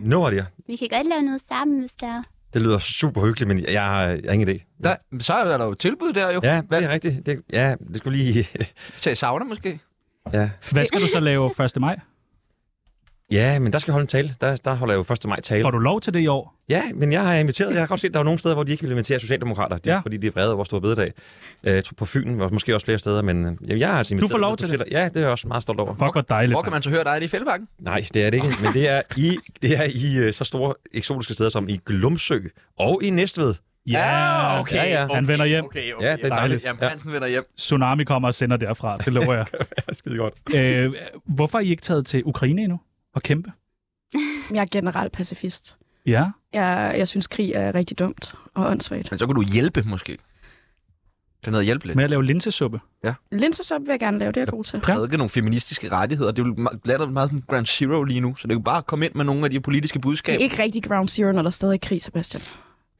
C: no idea.
D: Vi kan godt lave noget sammen, hvis der er.
C: Det lyder super hyggeligt, men jeg, jeg, har, jeg har ingen idé.
A: Der, så er der jo et tilbud der jo.
C: Ja,
A: Hvad?
C: det er rigtigt. Det, ja, det skulle lige...
A: Tag sauna måske?
C: ja.
B: Hvad skal du så lave 1. maj?
C: ja, men der skal jeg holde en tale. Der, der holder jeg jo 1. maj tale.
B: Får du lov til det i år?
C: Ja, men jeg har inviteret. Jeg har godt set, at der er nogle steder, hvor de ikke vil invitere socialdemokrater, de,
B: Ja.
C: ja. fordi de er vrede over store bededag. Øh, på Fyn, og måske også flere steder, men øh, jamen, jeg har altså inviteret.
B: får lov
C: dem,
B: til
C: der fortæller- Ja, det er jeg også meget stolt over.
B: Fuck, hvor dejligt.
A: Hvor kan man så høre dig? Er det i Fældebakken?
C: Nej, det er det ikke, men det er i, det er i øh, så store eksotiske steder som i Glumsø og i Næstved.
B: Ja,
C: Ja, ja.
B: Han vender hjem.
A: Okay,
C: Ja, det er dejligt.
A: Jamen,
C: Ja.
A: Hansen vender hjem.
B: Tsunami kommer og sender derfra, det lover jeg.
C: Skide godt.
B: øh, hvorfor er I ikke taget til Ukraine endnu og kæmpe?
E: Jeg er generelt pacifist.
B: Ja,
E: Jeg, jeg synes, krig er rigtig dumt og åndssvagt.
A: Men så kunne du hjælpe, måske. Den havde hjælpe lidt.
B: med at lave linsesuppe.
E: Linsesuppe vil jeg gerne lave, det er jeg god til.
A: prædike nogle feministiske rettigheder. Det er jo ma- landet meget sådan ground zero lige nu, så det kan bare komme ind med nogle af de politiske budskaber.
E: Det er ikke rigtig ground zero, når der stadig er krig, Sebastian.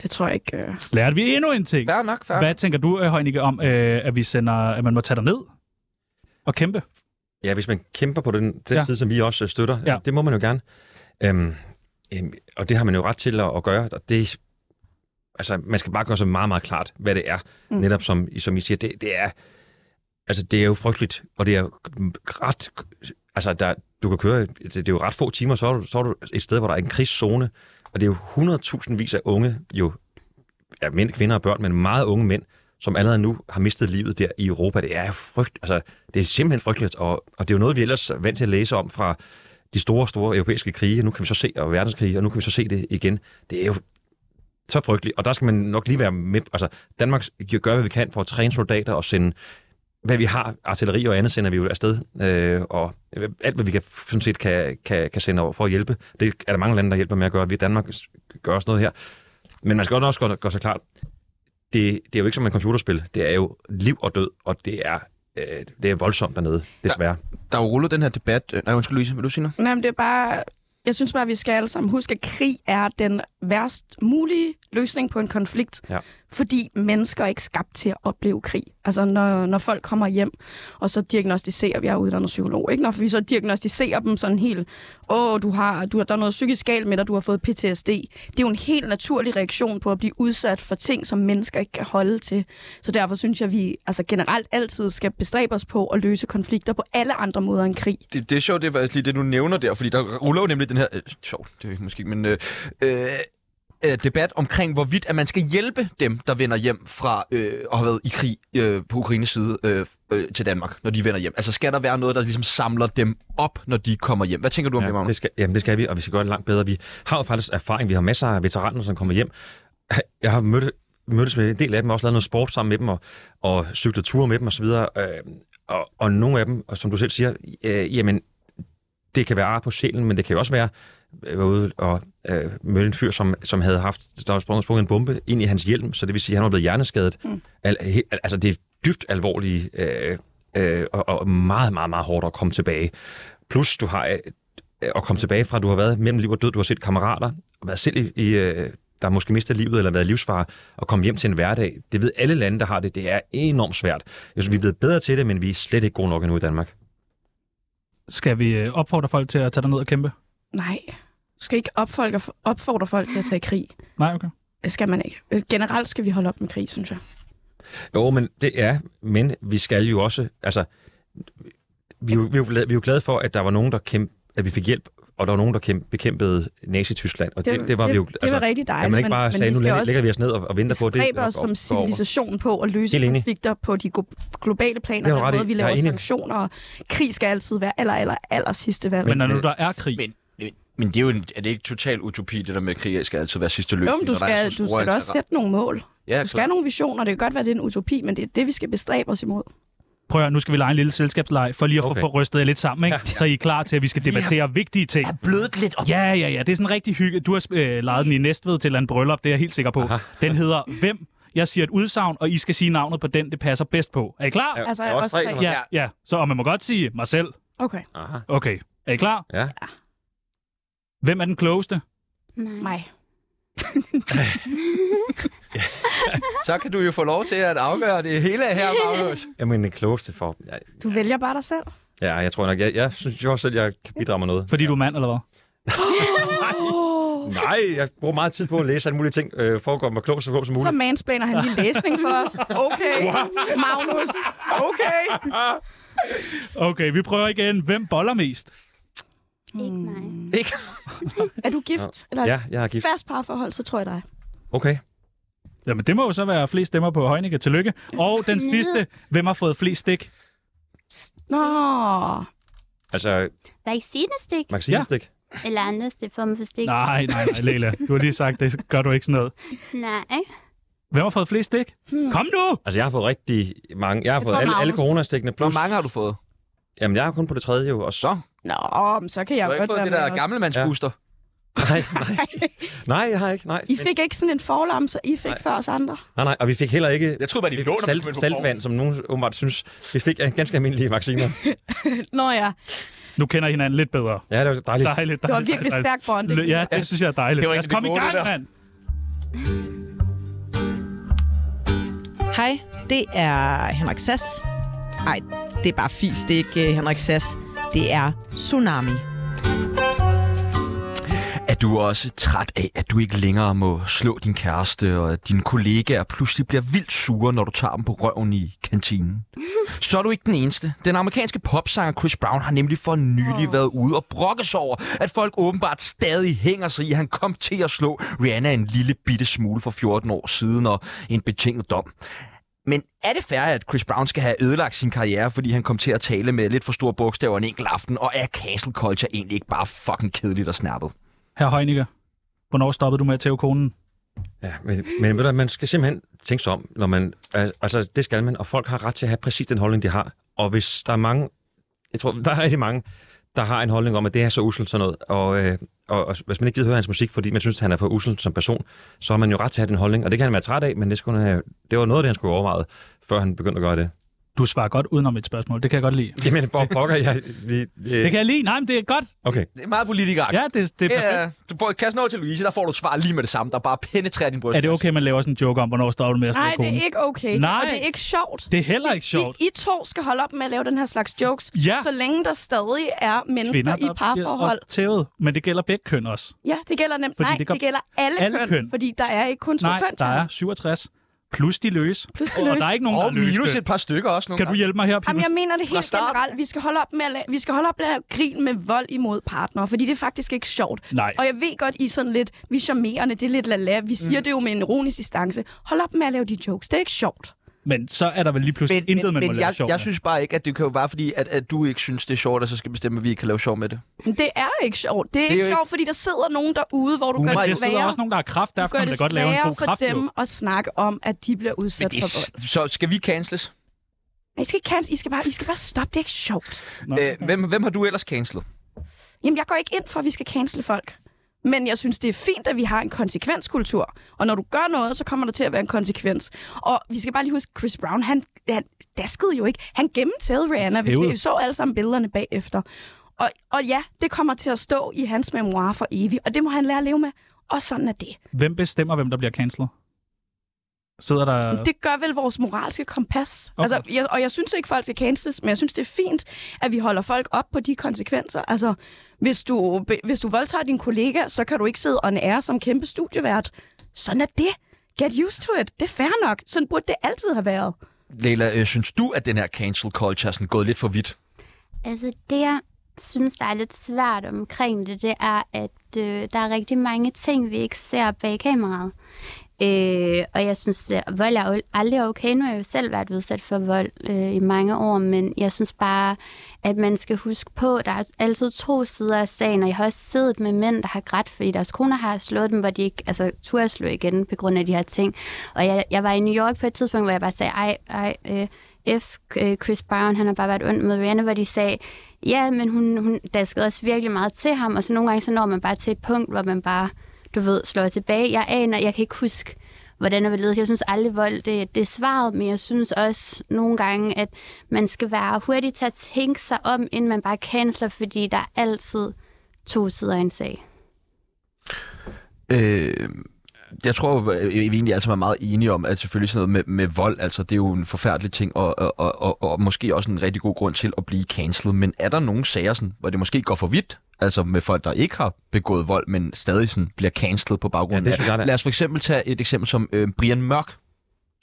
E: Det tror jeg ikke. Øh...
B: Lærte vi endnu en ting.
A: Fair nok, fair.
B: Hvad tænker du, øh, Heunicke, om, øh, at vi sender, at man må tage dig ned og kæmpe?
C: Ja, hvis man kæmper på den, den
B: Ja.
C: ja. side, som vi også øh, støtter,
B: Ja.
C: ja. det må man jo gerne. Øhm, øhm, og det har man jo ret til at, at gøre. Og det, altså, man skal bare gøre sig meget, meget klart, hvad det er.
E: Mm.
C: Mm. Netop som, I- som I siger, det, det er altså, det er jo frygteligt, og det er ret... Altså, der, du kan køre, altså, det, det er jo ret få timer, så er, du, så er du et sted, hvor der er en krigszone, og det er jo 100.000 vis af unge, jo ja, mænd, kvinder og børn, men meget unge mænd, som allerede nu har mistet livet der i Europa. Det er frygt, altså, det er simpelthen frygteligt, og, og det er jo noget, vi ellers er vant til at læse om fra de store, store europæiske krige, og nu kan vi så se, og verdenskrige, og nu kan vi så se det igen. Det er jo så frygteligt, og der skal man nok lige være med. Altså, Danmark gør, hvad vi kan for at træne soldater og sende hvad vi har, artilleri og andet, sender vi jo afsted, øh, og alt, hvad vi kan, sådan set kan, kan, kan sende over for at hjælpe. Det er der mange lande, der hjælper med at gøre. Vi i Danmark gør også noget her. Men man skal også gøre, gøre sig klart, det, det er jo ikke som en computerspil. Det er jo liv og død, og det er, øh, det er voldsomt dernede, desværre.
A: Der er jo rullet den her debat... øh, Nej, undskyld Louise, vil du sige noget?
E: Nej, men det er bare... Jeg synes bare, at vi skal alle sammen huske, at krig er den værst mulige løsning på en konflikt.
C: Ja.
E: Fordi mennesker er ikke skabt til at opleve krig. Altså, når, når folk kommer hjem, og så diagnostiserer vi, jeg er uddannet psykolog, ikke? Når vi så diagnostiserer dem sådan helt, åh, du har, du har, der er noget psykisk galt med dig, du har fået PTSD. Det er jo en helt naturlig reaktion på at blive udsat for ting, som mennesker ikke kan holde til. Så derfor synes jeg, at vi altså generelt altid skal bestræbe os på at løse konflikter på alle andre måder end krig.
A: det, det er sjovt, det er faktisk lige det, du nævner der, fordi der ruller jo nemlig den her... Øh, sjovt, det er måske ikke, men... Øh, øh, øh, debat omkring, hvorvidt at man skal hjælpe dem, der vender hjem fra øh, og har været i krig øh, på Ukraines side øh, øh, til Danmark, når de vender hjem. Altså skal der være noget, der ligesom samler dem op, når de kommer hjem? Hvad tænker du om ja, det,
C: Ja,
A: Magnus?
C: det skal, jamen, det skal vi, og vi skal gøre det langt bedre. Vi har jo faktisk erfaring. Vi har masser af veteraner, som kommer hjem. Jeg har mødt, mødtes med en del af dem, og også lavet noget sport sammen med dem, og, og cyklet ture med dem osv. Og, øh, og, og nogle af dem, og som du selv siger, øh, jamen, det kan være ar på sjælen, men det kan jo også være, jeg var ude og øh, mødte en fyr, som, som havde haft, der var sprunget, sprunget en bombe ind i hans hjelm, så det vil sige, at han var blevet hjerneskadet. Mm. Al, he, al, altså, det er dybt alvorlige øh, øh, og, og meget, meget, meget hårdt at komme tilbage. Plus, du har øh, at komme tilbage fra, at du har været mellem liv og død, du har set kammerater, og været selv i, i øh, der har måske mistet livet eller været i livsfare, og komme hjem til en hverdag. Det ved alle lande, der har det. Det er enormt svært. Jeg synes, vi er blevet bedre til det, men vi er slet ikke gode nok endnu i Danmark.
B: Skal vi øh, opfordre folk til at tage ned og kæmpe?
E: Nej. Du skal ikke opfordre, opfordre folk til at tage i krig.
B: Nej, okay.
E: Det skal man ikke. Øh, Generelt skal vi holde op med krig, synes jeg.
C: Jo, men det er, men vi skal jo også, altså, vi, er jo- vi, er jo glade- vi er jo glade for, at der var nogen, der kæmp, at vi fik hjælp, og der var nogen, der kæmp, bekæmpede Nazi-Tyskland, og det, det, det var vi jo...
E: det, det var rigtig dejligt,
C: at man ikke bare
E: men,
C: sagde, nu
E: men vi skal
C: lægger,
E: også
C: lægger vi os ned og, og venter på at det.
E: bestræbe os
C: og- og-
E: som
C: går over.
E: civilisation på at løse
C: Helt enig.
E: konflikter på de glo- globale planer,
C: Det
E: den
C: har du ret i.
E: måde, vi
C: Jeg er
E: laver
C: enig.
E: sanktioner, og krig skal altid være aller, aller, aller sidste valg. Øhm,
B: Men
E: Men,
B: når nu
C: øh,
B: der er krig,
A: Men, men, men det er jo en, er det ikke total utopi, det der med, at krig skal altid være sidste løsning?
E: jo, men du
A: når der er
E: skal,
A: så
E: du
A: store
E: skal da også
A: interesser?
E: sætte nogle mål.
A: Ja,
E: Du skal have nogle visioner. Det kan godt være, det er en utopi, men det er det, vi skal bestræbe os imod.
B: prøv at høre, nu skal vi lege en lille selskabsleg, for lige at okay.
C: Okay.
B: få rystet jer lidt sammen, ikke? så I er klar til, at vi skal debattere vigtige ting.
A: er blødt lidt op.
B: Ja, ja, ja. Det er sådan rigtig hygge. Du har øh, lejet den i Næstved til et eller andet bryllup, det er jeg helt sikker på. Aha. Den hedder Hvem? Jeg siger et udsagn, og I skal sige navnet på den, det passer bedst på. Er I klar?
C: Ja,
E: Altså,
C: der er
E: også tre.
C: nummer-
B: Ja, ja. Så og man må godt sige mig selv.
E: Okay.
C: Aha,
B: Okay. Er I klar?
C: ja.
B: Hvem er den klogeste?
D: Nej.
E: Mig.
A: Så kan du jo få lov til at afgøre det hele her, Magnus.
C: Jamen, den klogeste for... Ja,
E: Du vælger bare dig selv.
C: ja, jeg tror nok, jeg, jeg synes jo også, at jeg kan bidrage med noget.
B: Fordi du er mand, eller hvad?
C: Nej, jeg bruger meget tid på at læse alle mulige ting, øh, for at gøre mig klog så klog som
E: Så
C: muligt.
E: mansplaner han lige læsning for os. Okay, Magnus. Okay.
B: Okay, vi prøver igen. Hvem boller mest?
D: Ikke mig.
A: Ikke?
E: Er du gift? Eller
C: Ja, jeg har gift.
E: fast parforhold, så tror jeg dig.
C: Okay.
B: Jamen, det må jo så være flest stemmer på Heunicke. Tillykke. Og den sidste. Hvem har fået flest stik?
E: Nå,
C: Altså,
D: Vaccinestik
C: magasinstick.
D: eller andre form for stik?
B: Nej, nej, nej, Leila. Du har lige sagt, det gør du ikke sådan noget.
D: Nej.
B: Hvem har fået flest stik? Kom nu!
C: Altså, jeg har fået rigtig mange. Jeg har
E: Jeg
C: fået
E: tror,
C: alle, alle
E: Magnus-
C: coronastikkene.
A: Hvor
C: Plus,
A: mange har du fået?
C: jamen, jeg er kun på det tredje jo. Og så...
A: Så?
E: nå, men så kan jeg
A: Du har ikke
E: jo godt
A: fået
E: være
A: det
E: med
A: der
E: også.
A: gammelmandsbooster?
C: Nej, nej. nej, jeg har ikke. Nej.
E: I fik ikke sådan en forlam, så I fik nej. før os andre.
C: nej, nej. Og vi fik heller ikke
A: Jeg troede bare, de fik lånt
C: salt, saltvand, som nogen åbenbart synes. Vi fik øh, ganske almindelige vacciner.
E: Nå ja,
B: Nu kender I hinanden lidt bedre.
C: Ja, det var dejligt.
B: Dejligt, dejligt.
E: det var virkelig
B: dejligt.
E: stærk bond. ikke?
B: Ja, det synes jeg er dejligt.
A: Det var
B: Lad
A: ikke
B: os komme i
A: det gode,
B: gang,
A: det der.
B: mand.
G: Hej, det er Henrik Sass. Nej, det er bare fis, det er ikke øh, Henrik Sass. Det er Tsunami.
A: Er du også træt af, at du ikke længere må slå din kæreste, og at dine kollegaer pludselig bliver vildt sure, når du tager dem på røven i kantinen? Så er du ikke den eneste. Den amerikanske popsanger Chris Brown har nemlig for nylig været ude og brokkes over, at folk åbenbart stadig hænger sig i, at han kom til at slå Rihanna en lille bitte smule for 14 år siden, og en betinget dom. Men er det fair, at Chris Brown skal have ødelagt sin karriere, fordi han kom til at tale med lidt for store bogstaver en enkelt aften, og er cancel culture egentlig ikke bare fucking kedeligt og snappet?
B: Herre Heunicke, hvornår stoppede du med at tæve konen?
C: Ja, men, men ved du, man skal simpelthen tænke sig om, når man, al- altså det skal man, og folk har ret til at have præcis den holdning, de har. Og hvis der er mange, jeg tror, der er rigtig mange, der har en holdning om, at det er så uselt sådan noget, og, øh, og, og hvis man ikke gider høre hans musik, fordi man synes, at han er for usel som person, så har man jo ret til at have den holdning, og det kan han være træt af, men det, skulle han have, det var noget af det, han skulle overveje, før han begyndte at gøre det.
B: Du svarer godt udenom et spørgsmål. Det kan jeg godt lide.
C: Jamen, hvor pokker jeg... Vi,
B: Det
C: øh,
B: kan jeg lide. Nej, men det er godt.
C: okay.
A: Det er meget politikeragtigt.
B: Ja, det, det er perfekt.
A: Ja, du bør kaste den over til Louise, der får du et svar lige med det samme, der bare penetrerer din bryst.
B: Er det okay, at man laver sådan en joke om, hvornår stopper du med at slå
E: Nej, det
B: konen?
E: er ikke okay.
B: Nej.
E: Og det er ikke sjovt.
B: Det er heller ikke sjovt.
E: I, I to skal holde op med at lave den her slags jokes,
B: Ja.
E: så længe der stadig er mennesker
B: Kvinder,
E: i
B: der
E: parforhold.
B: bliver tævet. Men det gælder begge køn også.
E: Ja, det gælder nemt.
B: Fordi
E: Nej,
B: det
E: det,
B: kom-
E: gælder alle,
B: alle
E: køn,
B: køn.
E: fordi der er ikke kun to
B: Nej,
E: køn.
B: der
E: Tjerno.
B: er 67. Plus de løs.
E: Plus de
B: Og- Og
E: løs.
B: der er ikke nogen, der
A: Og
B: er løs
A: minus
B: køn.
A: et par stykker også nogle
B: Kan du
A: gange.
B: hjælpe mig her, Pibus?
E: Jamen, jeg mener det helt
A: starten.
E: generelt. Vi skal holde op med at, la- vi skal holde op med at grine med vold imod partnere, fordi det er faktisk ikke sjovt.
B: Nej.
E: Og jeg ved godt, I er sådan lidt, vi er charmerende, det er lidt lala. Vi siger mm. det jo med en ironisk distance. Hold op med at lave de jokes. Det er ikke sjovt.
B: Men så er der vel lige pludselig intet, man må
A: men
B: lave
A: jeg,
B: sjov
A: jeg
B: med.
A: synes bare ikke, at det kan jo være fordi, at, at du ikke synes, det er sjovt, og så skal bestemme, at vi ikke kan lave sjov med det.
E: Men det er ikke sjovt. Det er, det er
A: jo
E: ikke
A: ikke-
E: sjovt, fordi der sidder nogen derude, hvor du
A: Humor
E: gør
A: er
E: det
B: Der sidder
E: sværere.
B: også nogen, der har kraft,
E: Du
B: derfor
E: gør
B: kan man
E: det
B: da godt lave en
E: sværere
B: god
E: for
B: kraft.
E: dem at snakke om, at de bliver udsat
A: det
E: for vold.
A: så skal vi canceles.
E: Nej, I skal ikke cancel. I skal bare, I skal bare stoppe. Det er ikke sjovt.
A: Okay. Øh, hvem, hvem har du ellers cancelet?
E: Jamen, jeg går ikke ind for, at vi skal cancele folk. Men jeg synes, det er fint, at vi har en konsekvenskultur. Og når du gør noget, så kommer der til at være en konsekvens. Og vi skal bare lige huske, Chris Brown, han, han daskede jo ikke. Han gennemtævede Rihanna, hvis
B: Tævede.
E: vi så alle sammen billederne bagefter. Og, og ja, det kommer til at stå i hans memoir for evigt, og det må han lære at leve med. Og sådan er det.
B: Hvem bestemmer, hvem der bliver cancelet? Sidder der...
E: Men Det gør vel vores moralske kompas.
B: Okay.
E: Okay. Altså, jeg, og jeg synes ikke, folk skal canceles, men jeg synes, det er fint, at vi holder folk op på de konsekvenser. Altså, hvis du, hvis du voldtager din kollega, så kan du ikke sidde og ære som kæmpe studievært. Sådan er det. Get used to it. Det er fair nok. Sådan burde det altid have været.
A: Leila, øh, synes du, at den her cancel culture er sådan gået lidt for vidt?
D: Altså det, jeg synes, der er lidt svært omkring det, det er, at øh, der er rigtig mange ting, vi ikke ser bag kameraet. Øh, og jeg synes, at vold er jo aldrig okay. Nu har jeg jo selv været udsat for vold øh, i mange år, men jeg synes bare, at man skal huske på, at der er altid to sider af sagen, og jeg har også siddet med mænd, der har grædt, fordi deres koner har slået dem, hvor de ikke altså, turde slå igen på grund af de her ting. Og jeg, jeg var i New York på et tidspunkt, hvor jeg bare sagde, ej, ej, øh, F. øh, Chris Brown, han har bare været ond med Rihanna, hvor de sagde, ja, men hun, hun daskede også virkelig meget til ham, og så nogle gange så når man bare til et punkt, hvor man bare, du ved, slår tilbage. Jeg aner, jeg kan ikke huske, hvordan det var ledet. Jeg synes aldrig, vold det, det er svaret, men jeg synes også nogle gange, at man skal være hurtig til at tænke sig om, inden man bare canceler, fordi der er altid to sider af en sag.
A: Øh, jeg tror, at vi egentlig altid er meget enige om, at selvfølgelig sådan noget med, med vold, altså det er jo en forfærdelig ting, og, og, og, og, og måske også en rigtig god grund til at blive cancelet. Men er der nogle sager, sådan, hvor det måske går for vidt? Altså med folk, der ikke har begået vold, men stadig sådan bliver cancelet på baggrund
C: Ja, det
A: af
C: synes jeg, der er.
A: Lad os for eksempel tage et eksempel som øh, Brian Mørk,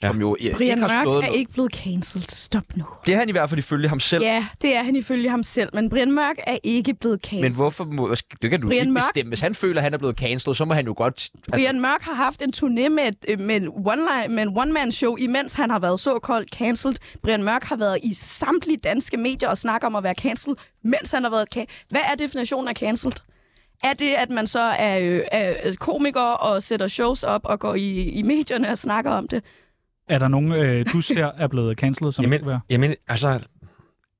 C: Ja.
A: ja. som jo øh,
E: Brian
A: ikke har slået
E: Mørk er
A: noget.
E: ikke blevet cancelled. Stop nu.
A: Det har han i hvert fald ifølge ham selv.
E: Ja, det er han ifølge ham selv, men Brian Mørk er ikke blevet cancelled.
A: Men hvorfor må, det kan du
E: Brian
A: ikke
E: Mørk?
A: bestemme. Hvis han føler, at han er blevet cancelled, så må han jo godt... Altså,
E: Brian Mørk har haft en turné med, et, øh, med, en one-line, med en one-man-show, imens han har været såkaldt cancelled. Brian Mørk har været i samtlige danske medier og snakker om at være cancelled, mens han har været ca- Hvad er definitionen af cancelled? Er det, at man så er, øh, er komiker og sætter shows op og går i, i medierne og snakker om
A: Øhm,
E: det?
B: Er der nogen, øh, du ser er blevet cancelet, som Jamen,
C: Jamen,
B: være?
C: jamen altså,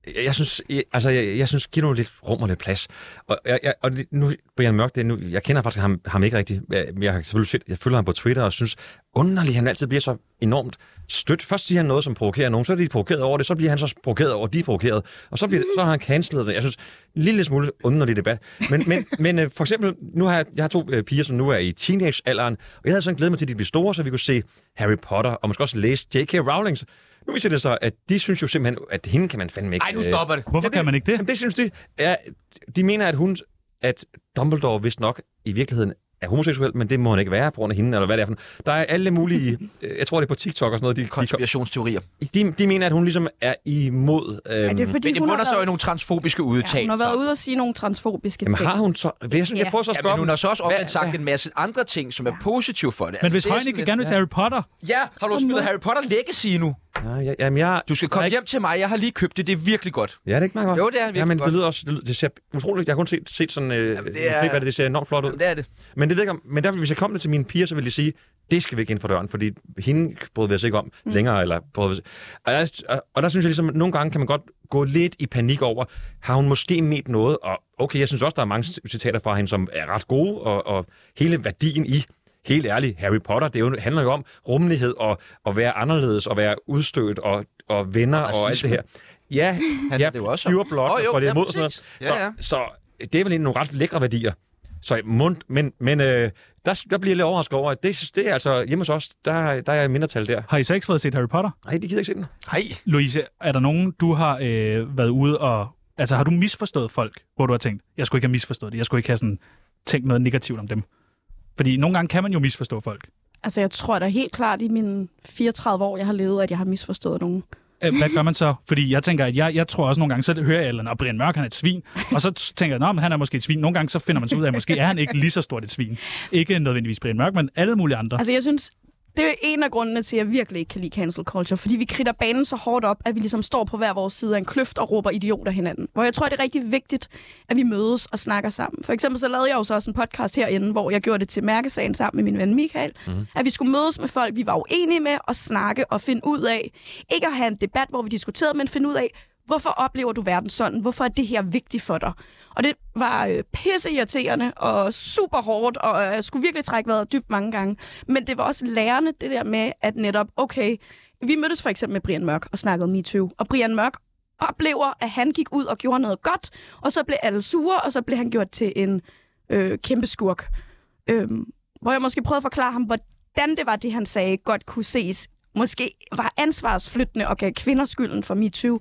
C: jeg, jeg synes, jeg, altså, jeg, jeg synes, giv nu lidt rum og lidt plads. Og, jeg, jeg, og det- nu, Brian Mørk, det er nu, jeg kender faktisk ham, ham ikke rigtigt. Jeg, men jeg har selvfølgelig set, jeg følger ham på Twitter og synes, underligt, han altid bliver så enormt stødt. Først siger han noget, som provokerer nogen, så er de provokeret over det, så bliver han så provokeret over, at de er provokeret, og så, bliver, så har han cancelet det. Jeg synes, en lille smule underlig debat. Men, men, men øh, for eksempel, nu har jeg, jeg har to øh, piger, som nu er i teenagealderen, og jeg havde sådan glædet mig til, at de blev store, så vi kunne se Harry Potter, og måske også læse J.K. Rowlings. Nu viser det sig, at de synes jo simpelthen, at hende kan man fandme ikke...
A: ej, nu
C: øh,
A: stopper det.
B: Hvorfor
C: Ja, det-
B: kan man ikke det?
C: Jamen, det synes de. Ja, de mener, at hun, at Dumbledore vist nok i virkeligheden er homoseksuel, men det må han ikke være på grund af hende, eller hvad det er for noget. Der er alle mulige, øh, jeg tror det er på TikTok og sådan noget, de,
A: Konspirationsteorier.
C: de, de, de mener, at hun ligesom er imod... Øhm,
E: Er det fordi,
A: Men det
E: hun, har
A: bunder så i
E: været,
A: nogle transfobiske
E: ja, hun
A: udtalelser.
E: har været ude og sige nogle transfobiske
C: jamen
E: ting.
C: har hun så... Jeg synes, jeg prøver så at
A: Ja,
C: spørge
A: men hun har
C: dem.
A: så også omvendt sagt en masse andre ting, som er positive for det.
B: Men hvis
A: altså, det er sådan
B: Højne
A: lidt-
B: gerne vil se Harry Potter,
A: Ja, har du
E: Så
A: spillet
E: må-
A: Harry Potter Legacy nu?
C: Ja, ja, jamen, jeg...
A: Du skal
C: der er
A: komme
C: ikke-
A: hjem til mig, jeg har lige købt det, det er virkelig godt.
C: Ja, det er ikke meget godt.
A: Jo, det er virkelig
C: ja, men det
A: godt.
C: lyder også... Det, lyder, det ser utroligt... Jeg har kun set, set sådan... Øh,
A: Jamen,
C: jamen,
A: det
C: det,
A: er-
C: er... det, ser enormt flot ud.
A: Jamen, det er det.
C: Men det ved jeg ikke om... Men derfor, hvis jeg kom det til mine piger, så ville de sige, det skal væk ind fra døren, fordi hende brød vi os ikke om længere. Eller brød vi os... og, der, og- og der synes jeg ligesom, at nogle gange kan man godt gå lidt i panik over, har hun måske ment noget? Og okay, jeg synes også, der er mange citater fra hende, som er ret gode, og, og hele værdien i helt ærligt, Harry Potter, det er jo, handler jo om rummelighed og at være anderledes og være udstødt og, og venner og, alt det her. Ja,
A: Handler
C: ja
A: det jo også om.
C: pure blood,
A: Åh, jo,
C: oh, for det
A: ja,
C: er mod sådan noget.
A: præcis.
C: Så,
A: Ja, ja.
C: så det er vel egentlig nogle ret lækre værdier. Så mund, men, men øh, der, der bliver jeg lidt overrasket over, at det, det er altså hjemme hos os, der, der er jeg mindretal der.
B: Har I så ikke fået set Harry Potter?
C: Nej, det gider jeg ikke se den.
A: Hej.
B: Louise, er der nogen, du har øh, været ude og... Altså, har du misforstået folk, hvor du har tænkt, jeg skulle ikke have misforstået det, jeg skulle ikke have sådan, tænkt noget negativt om dem? Fordi nogle gange kan man jo misforstå folk.
E: Altså, jeg tror da helt klart i mine 34 år, jeg har levet, at jeg har misforstået nogen.
B: Øh, Hvad gør man så? Fordi jeg tænker, at jeg, jeg tror også nogle gange, så hører jeg, at "Nå, Brian Mørk han er et svin, og så t- tænker jeg, at han er måske et svin. Nogle gange så finder man så ud af, at måske er han ikke lige så stort et svin. Ikke nødvendigvis Brian Mørk, men alle mulige andre.
E: Altså, jeg synes, det er en af grundene til, at jeg virkelig ikke kan lide cancel culture, fordi vi kridter banen så hårdt op, at vi ligesom står på hver vores side af en kløft og råber idioter hinanden. Hvor jeg tror, det er rigtig vigtigt, at vi mødes og snakker sammen. For eksempel så lavede jeg jo så også en podcast herinde, hvor jeg gjorde det til mærkesagen sammen med min ven Michael, mm. at vi skulle mødes med folk, vi var uenige med, og snakke og finde ud af, ikke at have en debat, hvor vi diskuterede, men finde ud af, Hvorfor oplever du verden sådan? Hvorfor er det her vigtigt for dig? Og det var øh, pisseirriterende og super hårdt, og øh, jeg skulle virkelig trække vejret dybt mange gange. Men det var også lærende, det der med, at netop, okay, vi mødtes for eksempel med Brian Mørk og snakkede MeToo, og Brian Mørk oplever, at han gik ud og gjorde noget godt, og så blev alle sure, og så blev han gjort til en øh, kæmpe skurk. Øhm, hvor jeg måske prøvede at forklare ham, hvordan det var, det han sagde, godt kunne ses. Måske var ansvarsflyttende og gav kvinder skylden for MeToo.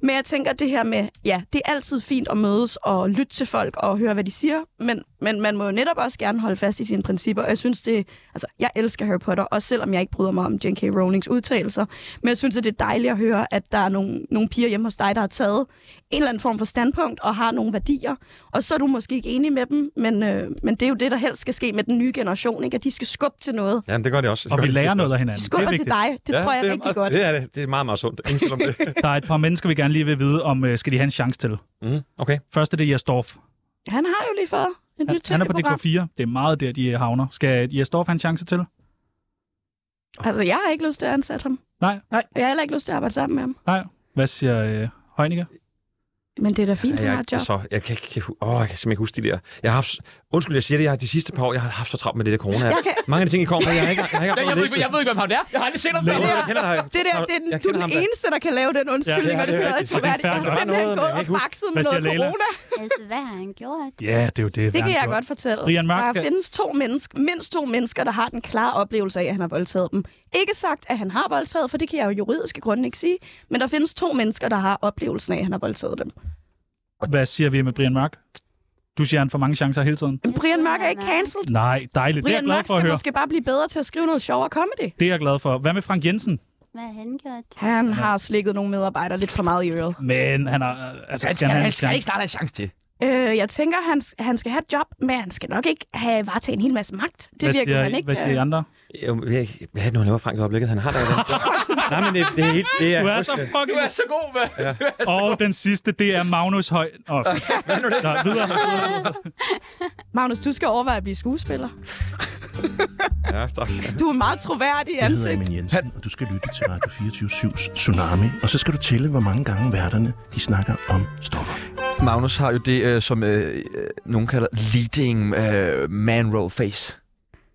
E: Men jeg tænker det her med, ja, det er altid fint at mødes og lytte til folk og høre, hvad de siger, men, men man må jo netop også gerne holde fast i sine principper. Og jeg synes det, altså, jeg elsker Harry Potter, også selvom jeg ikke bryder mig om J.K. Rowlings udtalelser. Men jeg synes, at det er dejligt at høre, at der er nogle, nogle piger hjemme hos dig, der har taget en eller anden form for standpunkt og har nogle værdier. Og så er du måske ikke enig med dem, men, øh, men det er jo det, der helst skal ske med den nye generation, ikke? at de skal skubbe til noget.
C: Jamen, det gør det også.
B: Og vi lærer noget af hinanden. Det er
E: Skubber til
B: vigtigt.
E: dig, det ja, tror jeg
C: det
E: er rigtig
C: meget,
E: godt.
C: Det er, det. det er meget, meget sundt. Ingen tvivl om det.
B: Der er et par mennesker, vi gerne lige vil vide, om øh, skal de have en chance til.
C: mm, okay.
B: Først er det Jastorf.
E: Han har jo lige fået et
B: Han,
E: nyt
B: han er på
E: tv-program.
B: DK4. Det er meget der, de øh, havner. Skal Jastorf have en chance til?
E: Altså, jeg har ikke lyst til at ansætte ham.
B: Nej.
E: Nej. Og jeg har heller ikke lyst til at arbejde sammen med ham.
B: Nej. Hvad siger øh, Heunicke?
E: Men det er da fint,
C: Ja,
E: ja, han har
C: jeg,
E: et job.
C: så, jeg, kan, ikke, åh, jeg kan simpelthen ikke huske de der. Jeg har haft, undskyld, jeg siger det, jeg har de sidste par år, jeg har haft så travlt med det der corona. Jeg
E: kan-
C: Mange af de ting, I kom med, jeg har ikke, jeg har ikke haft noget at læse.
A: ved ikke, hvem han er. Jeg har aldrig set ham
C: Jo, jeg kender dig.
E: Det der, det er den,
C: Jeg
E: du er
C: kender ham altså.
E: den
C: da.
E: eneste, der kan lave den
C: Ja,
E: undskyldning, ja, og det
C: det er rigtigt.
E: sidder ikke troværdigt.
B: Det er
E: Jeg har
B: fair nok.
E: simpelthen
C: Der er
E: gået
B: Hvad siger
C: noget, men jeg kan ikke
E: og bakset med noget
B: Leila?
E: corona.
D: Altså, hvad har han gjort?
B: Ja, det er jo det.
E: Det kan
B: Verden
E: jeg
B: gjorde.
E: godt fortælle.
B: Brian Mørk
E: Der
B: skal-
E: findes to mennesker, mindst to mennesker, der har den klare oplevelse af, at han har voldtaget dem. Ikke sagt, at han har voldtaget, for det kan jeg jo juridiske grunde ikke sige. Men der findes to mennesker, der har oplevelsen af, at han har voldtaget dem.
B: Hvad siger vi med Brian Mørk? Du siger, han får mange chancer hele tiden.
E: Men Brian Mørk er ikke
D: Nej.
E: cancelled.
B: Nej, dejligt. det er jeg
E: Brian
B: glad
E: Mørk
B: for at
E: skal
B: høre.
E: måske bare blive bedre til at skrive noget sjovere comedy.
B: Det er jeg glad for. Hvad med Frank Jensen?
D: Hvad har han gjort?
E: Han har slikket nogle medarbejdere lidt for meget i øret.
B: Men han har... øh, Altså,
A: Han skal, han skal ikke snart have en chance til.
E: Øh, jeg tænker, han, han skal have et job, men han skal nok ikke have varetaget en hel masse magt. Det
B: Hvad
E: virker
B: siger,
E: han ikke.
B: Hvad siger I
E: øh,
B: andre?
C: Jo, jeg, hvad er det nu, han laver Frank i øjeblikket? Han har der jo den. Nej, men det, det er helt... Det er,
B: Du er så fucking...
A: så god, hvad?
B: Og den sidste, det er Magnus Høj... Oh. Nå, videre.
E: Magnus, du skal overveje at blive skuespiller.
C: Ja, tak.
E: Du er en meget troværdig
H: Jeg hedder
E: ansigt.
H: Amin Jensen, og du skal lytte til Radio 24-7's Tsunami. Og så skal du tælle, hvor mange gange værterne de snakker om stoffer.
A: Magnus har jo det, øh, som øh, øh, nogen kalder leading øh, man roll face.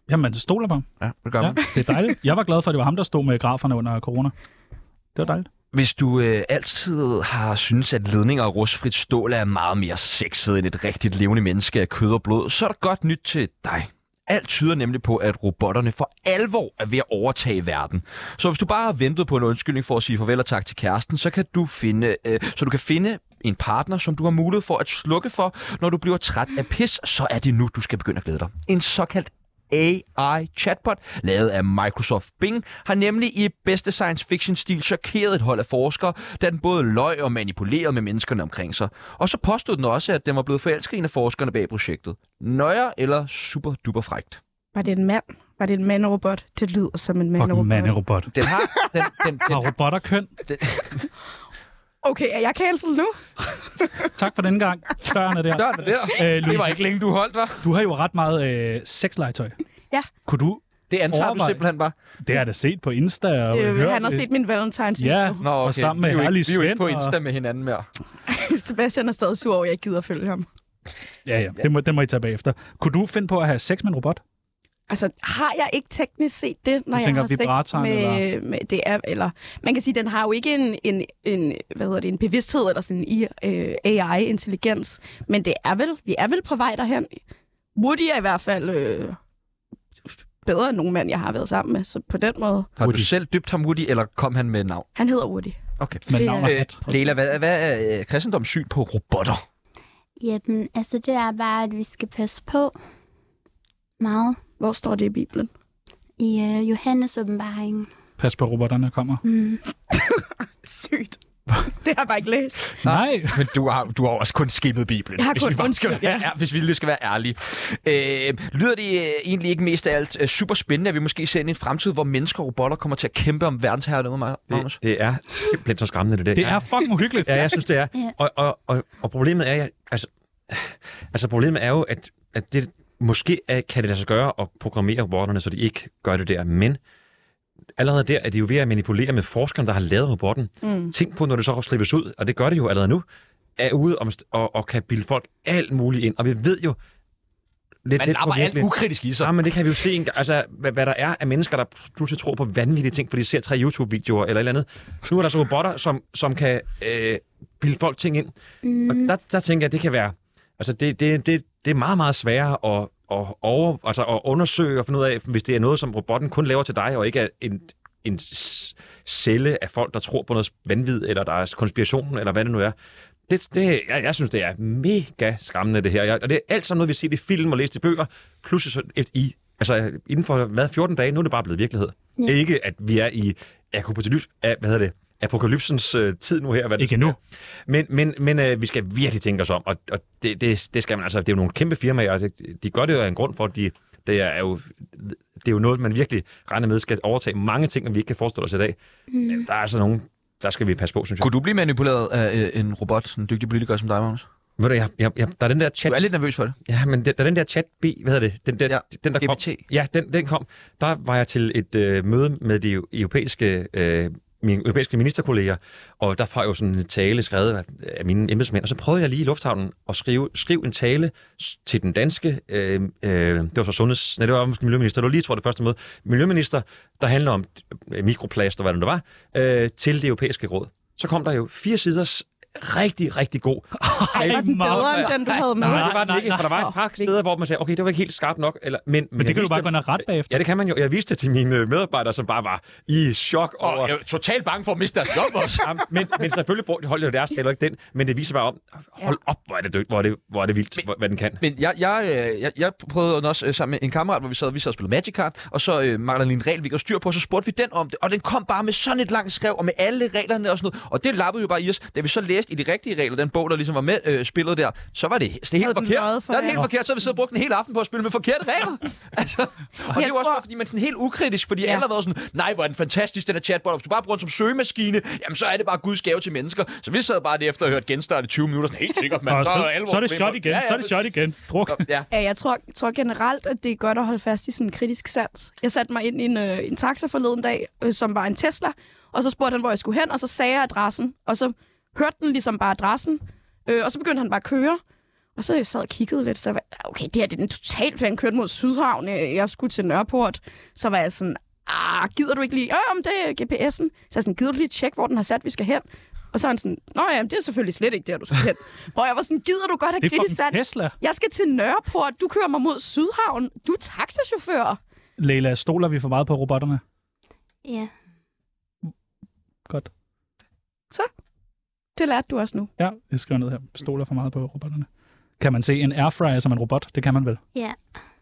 B: Jamen, du stoler på ham.
A: Ja, det gør
B: Ja,
A: man.
B: det er dejligt. Jeg var glad for, at det var ham, der stod med graferne under corona. Det var dejligt.
A: Hvis du øh, altid har synes at ledninger af rustfrit stål er meget mere sexet end et rigtigt levende menneske af kød og blod, så er der godt nyt til dig. Alt tyder nemlig på, at robotterne for alvor er ved at overtage verden. Så hvis du bare har ventet på en undskyldning for at sige farvel og tak til kæresten, så kan du finde, øh, så du kan finde en partner, som du har mulighed for at slukke for, når du bliver træt af pis, så er det nu, du skal begynde at glæde dig. En såkaldt AI-chatbot, lavet af Microsoft Bing, har nemlig i bedste science fiction-stil chokeret et hold af forskere, da den både løg og manipulerede med menneskerne omkring sig. Og så påstod den også, at den var blevet forelsket i en af forskerne bag projektet. Nøjer eller super duper frægt.
E: Var det en mand? Var det en mandrobot? Det lyder som en
B: Fucking
E: mandrobot.
B: manderobot.
A: Den har... Den, den, den,
B: Har robotter køn?
E: Okay, er jeg cancelled nu?
B: Tak for den gang. Døren er der.
A: døren er der.
B: Øh, Louise,
A: ikke længe, du holdt, var.
B: du har jo ret meget øh, sexlegetøj.
E: Ja.
B: Kunne du
A: Det antager Overvej.
B: Overvej.
A: du simpelthen bare.
B: Det har jeg da set på Insta. Og
E: Øh,
B: hørt,
E: han har
B: øh,
E: set min Valentines
B: Ja,
E: video.
A: Nå, okay.
B: og sammen med
A: vi er jo
B: herlig
A: ikke, vi er jo ikke
B: Svend
A: på
B: og-
A: Insta med hinanden mere.
E: Sebastian er stadig sur over, at jeg ikke gider at følge ham.
B: Ja, ja. Det må, den må I tage bagefter. Kunne du finde på at have sex med en robot?
E: Altså, har jeg ikke teknisk set det, når
B: Du
E: jeg
B: tænker
E: har sex
B: vibratoren,
E: med,
B: eller?
E: med det er, eller man kan sige, den har jo ikke en, en, en hvad hedder det, en bevidsthed eller sådan en øh, AI-intelligens, men det er vel, vi er vel på vej derhen. Woody er i hvert fald øh, bedre end nogen mand, jeg har været sammen med, så på den måde.
A: Har Woody.
B: Woody.
A: du selv dybt ham Woody, eller kom han med et navn?
E: Han hedder Woody.
A: Okay.
B: Med
E: Det
B: navn og
E: er-
B: hat?
A: Øh, Leila, hvad, hvad er øh, kristendoms syn på robotter?
D: Jamen, altså det er bare, at vi skal passe på meget
E: Hvor står det i Bibelen?
D: i øh, Johannes åbenbaring.
B: Pas på, robotterne kommer.
D: Mm.
E: Sygt. Det har jeg bare ikke læst.
B: Nej,
A: Men du har, du har også kun skimmet Bibelen,
E: Jeg har
A: hvis,
E: kun-
A: vi bare skal
E: undskyld,
A: være, ja. hvis vi lige skal være ærlige. Øh, lyder det øh, egentlig ikke mest af alt øh, super spændende, at vi måske ser ind i en fremtid, hvor mennesker og robotter kommer til at kæmpe om verdensherredømmet, Magnus?
C: Det, det er simpelthen så skræmmende, det der.
B: det er fucking uhyggeligt.
C: Ja, jeg synes, det er.
D: Ja.
C: Og, og, og, og problemet er, jeg, altså, altså problemet er jo, at, at det, måske er, kan det lade sig gøre at programmere robotterne, så de ikke gør det der, men allerede der er de jo ved at manipulere med forskerne, der har lavet robotten. Mm. Tænk på, når det så slippes ud, og det gør det jo allerede nu, er ude om, st- og, og kan bilde folk alt muligt ind. Og vi ved jo lidt,
A: Man
C: lidt
A: lapper alt
C: påvirkeligt-
A: ukritisk i sig.
C: Ja, Ah, men det kan vi jo se, en, altså, hvad, hvad der er af mennesker, der pludselig tror på vanvittige ting, fordi de ser tre YouTube-videoer eller et eller andet. Nu er der så robotter, som, som kan øh, bilde folk ting ind. Mm. Og der, der tænker jeg, det kan være... Altså, det, det, det, det er meget, meget sværere at, at, over, altså, at undersøge og finde ud af, hvis det er noget, som robotten kun laver til dig, og ikke er en, en s- celle af folk, der tror på noget vanvid, eller der er konspiration, eller hvad det nu er. Det, det, jeg, jeg synes, det er mega skræmmende, det her. Jeg, og det er alt sammen noget, vi ser i film og læst i bøger. Pludselig så et, i, altså, inden for hvad, 14 dage, nu er det bare blevet virkelighed. Ja. Ikke, at vi er i apokalyps, af, hvad hedder det, apokalypsens øh, tid nu her. Hvad det
B: Ikke endnu.
C: men, men, men øh, vi skal virkelig tænke os om, og, og det, det, det skal man altså. Det er jo nogle kæmpe firmaer, og det, de gør det jo af en grund for, at de, det, er jo, det er jo noget, man virkelig regner med skal overtage mange ting, som vi ikke kan forestille os i dag. Mm. Der er altså nogen, der skal vi passe på, synes jeg.
A: Kunne du blive manipuleret af øh, en robot, sådan en dygtig politiker som dig, Magnus?
C: Ved du, jeg, jeg, jeg, der er den der
A: Du
C: chat,
A: er lidt nervøs for det.
C: ja, men der, der er den der chat B, hvad hedder det? Den der,
A: Ja,
C: ja, den, der kom,
A: GPT.
C: ja, den, den kom. Der var jeg til et øh, møde med de eu- europæiske øh, mine europæiske ministerkolleger, og der var jo sådan en tale skrevet af- af mine embedsmænd, og så prøvede jeg lige i lufthavnen at skrive, skrive en tale s- til den danske, øh, øh, det var så sundheds, nej, det var måske miljøminister, det var lige, tror jeg, det første møde, miljøminister, der handler om øh, mikroplast og hvad det nu var, øh, til det europæiske råd. Så kom der jo fire siders rigtig, rigtig god
E: Ej, var den
B: meget-
E: bedre end den, du havde med?
C: Nej,
B: Nej,
C: det var den
B: nej,
C: ikke,
B: nej.
C: for der var et par steder, hvor man sagde, okay, det var ikke helt skarpt nok. Eller, men,
B: Men det
C: jeg
B: kan du
C: viste
B: bare gå
C: dem-
B: ind og rette bagefter.
C: Ja, det kan man jo. Jeg viste det til mine øh, medarbejdere, som bare var i chok over...
A: jeg er totalt bange for at miste deres job også.
C: Ja, men, men selvfølgelig brugte holdt jo deres tale, og ikke den. Men det viser bare om, hold op, hvor er det, dødt, hvor er det, hvor er det vildt, hvor, hvad den kan.
A: Men jeg, jeg, øh, jeg, jeg prøvede den også øh, sammen med en kammerat, hvor vi sad, vi sad og spillede Magic Card, og så øh, manglede lige en regel, vi ikke havde styr på, og så spurgte vi den om det, og den kom bare med sådan et langt skrev, og med alle reglerne og sådan noget, og det lappede jo bare i os. Da vi så læste i de rigtige regler, den bog, der ligesom var med øh, spillet der, så var det, det er helt
E: Havde den
A: forkert.
E: løjet for
A: Der er det
E: jer?
A: helt forkert, så havde vi siddet og brugt en hel aften på at spille med forkerte regler. altså, og det er jo også
E: tror-
A: bare, fordi man sådan helt ukritisk, fordi ja. alle har været sådan, nej, hvor er den fantastisk, den her chatbot, og hvis du bare bruger den som søgemaskine, jamen så er det bare guds gave til mennesker. Så vi sad bare lige efter og hørte genstart i 20 minutter, sådan helt sikkert,
B: Og
A: man,
B: så, så er det shot igen, så er det shot igen. Druk.
A: Ja,
E: Ja, jeg tror, tror generelt, at det er godt at holde fast i sådan en kritisk sans. Jeg satte mig ind i en, øh, en taxa forleden dag, øh, som var en Tesla, og så spurgte han, hvor jeg skulle hen, og så sagde jeg adressen, og så hørte den ligesom bare adressen, øh, og så begyndte han bare at køre. Og så jeg sad og kiggede lidt, så var jeg, okay, det her det er den totalt, for han kørte mod Sydhavn, øh, jeg skulle til Nørreport. Så var jeg sådan, ah, gider du ikke lige, øh, om det er GPS'en. Så jeg sådan, gider du lige tjekke, hvor den har sat, vi skal hen? Og så er han sådan, nå ja, men det er selvfølgelig slet ikke der, du skal hen. Hvor jeg var sådan, gider du godt
B: Det
E: have
B: er
E: kritisk
B: fucking
E: sans?
B: Tesla.
E: Jeg skal til Nørreport. Du kører mig mod Sydhavn. Du er taxachauffør.
B: Leila, stoler vi for meget på robotterne?
D: Ja.
B: Godt.
E: Det lærte du også nu.
B: Ja, jeg skriver ned her. Stoler for meget på robotterne. Kan man se en airfryer som en robot? Det kan man vel.
D: ja.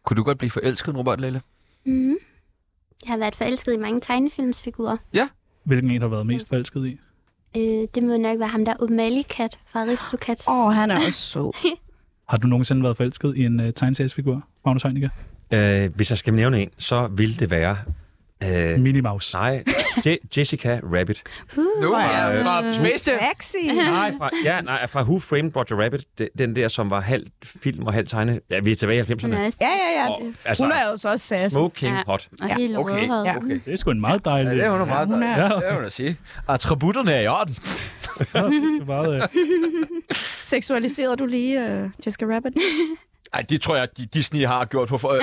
A: Kunne du godt blive forelsket i en robot, Leila?
D: Mm. Jeg har været forelsket i mange tegnefilmsfigurer.
B: Hvilken en har du været mest forelsket i?
D: Øh, det må nok være ham der O'Malley-kat fra Aristocat.
E: Åh, oh, han er også sød.
B: Har du nogensinde været øh, forelsket i en uh, tegneseriesfigur, Magnus Heunicke?
C: Øh, hvis jeg skal nævne en, så vil det være Øh,
B: Minnie Mouse.
C: nej, Je- Jessica Rabbit.
A: Nu er jeg fra Smedste.
I: Taxi.
C: Nej, fra, ja, nej, fra Who Framed Roger Rabbit, de- den der, som var halv film og halv tegne. Ja, vi er tilbage i 90'erne.
D: Hun er også
E: Ja, ja, ja.
C: Og,
E: det-
C: altså,
E: Hun er altså også sass.
C: smoking
D: Ja.
C: hot.
D: og helt
A: Okay.
D: rødhåret.
E: Ja.
A: Okay.
B: Det er sgu en meget
A: Ja,
B: dejlig...
A: det er hun er meget
E: hun
A: dejlig.
E: er-
A: Ja, det er hun at sige. Attributterne er i orden.
B: meget... meget øh,
E: Seksualiserede du lige uh, Jessica Rabbit?
A: Ej, det tror jeg, de Disney har gjort på for... Øh,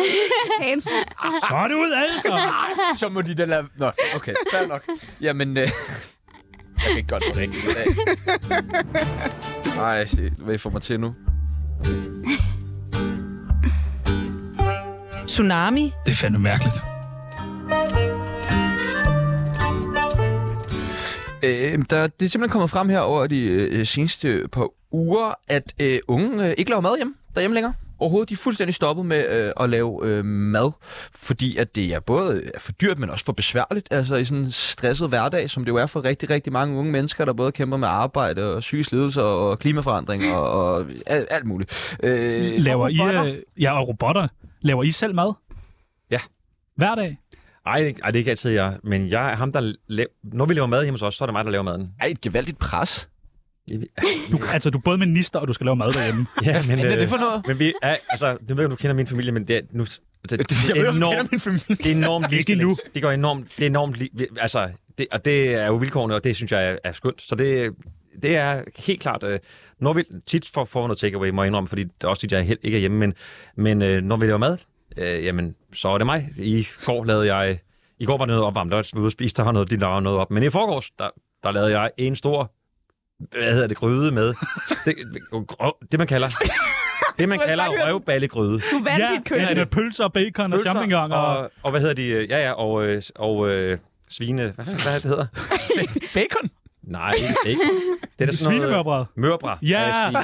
E: Cancel.
B: så er det ud, altså!
A: så må de da lade... Nå, okay, fair nok. Jamen, øh, jeg kan ikke godt drikke i dag. Ej, se, hvad I får mig til nu.
G: Tsunami.
B: Det er fandme mærkeligt.
A: Øh, der, det er simpelthen kommet frem her over de øh, seneste par uger, at øh, unge øh, ikke laver mad hjemme, derhjemme længere. Overhovedet, de er fuldstændig stoppet med øh, at lave øh, mad, fordi at det er både øh, er for dyrt, men også for besværligt. Altså i sådan en stresset hverdag, som det jo er for rigtig, rigtig mange unge mennesker, der både kæmper med arbejde og psykisk ledelse og klimaforandring og, og alt, alt muligt. Øh,
B: Laver I...
E: robotter.
B: Øh, ja, og robotter. Laver I selv mad?
C: Ja.
B: Hver dag?
C: Ej, det- ej, det er ikke altid jeg, men jeg er ham, der laver... Når vi laver mad hjemme hos os, så er det mig, der laver maden.
A: ej, et gevaldigt pres.
B: Du, altså, du er både minister, og du skal lave mad derhjemme.
C: Ja, men,
B: øh,
C: øh,
A: Hvad er det for noget?
C: men vi er... Altså, det ved jeg, om du kender min familie, men det er nu... Altså,
A: Jeg ved, om du kender
C: enormt,
A: min familie.
C: det er enormt ligestilling.
B: nu.
C: Det går enormt... Det er enormt... Li- vi- altså, det, og det er jo vilkårene, og det synes jeg er, er skønt. Så det, det er helt klart... Øh, når vi tit får, får noget takeaway, må jeg indrømme, fordi det er også tit, jeg helt ikke er hjemme, men, men øh, når vi laver mad, øh, jamen, så er det mig. I går lavede jeg... I går var det noget opvarmt, der var vi ude og spise, der var noget, de lavede noget op. Men i forgårs, der, der lavede jeg en stor hvad hedder det, gryde med, det, det man kalder, det man
E: Du har
C: kalder
E: bare hørt den.
C: røvballegryde
E: Du vandt
B: ja,
E: dit køn.
B: ja, med pølser og bacon og
C: pølser
B: champignon og...
C: og, og hvad hedder de? øh, Ja, ja, og, øh, og øh, svine... Hvad, hvad er det hedder?
A: Bacon?
C: Nej, ikke. ikke. Det er da sådan noget...
B: Svinemørbræd.
C: Mørbra.
B: Ja, fuck,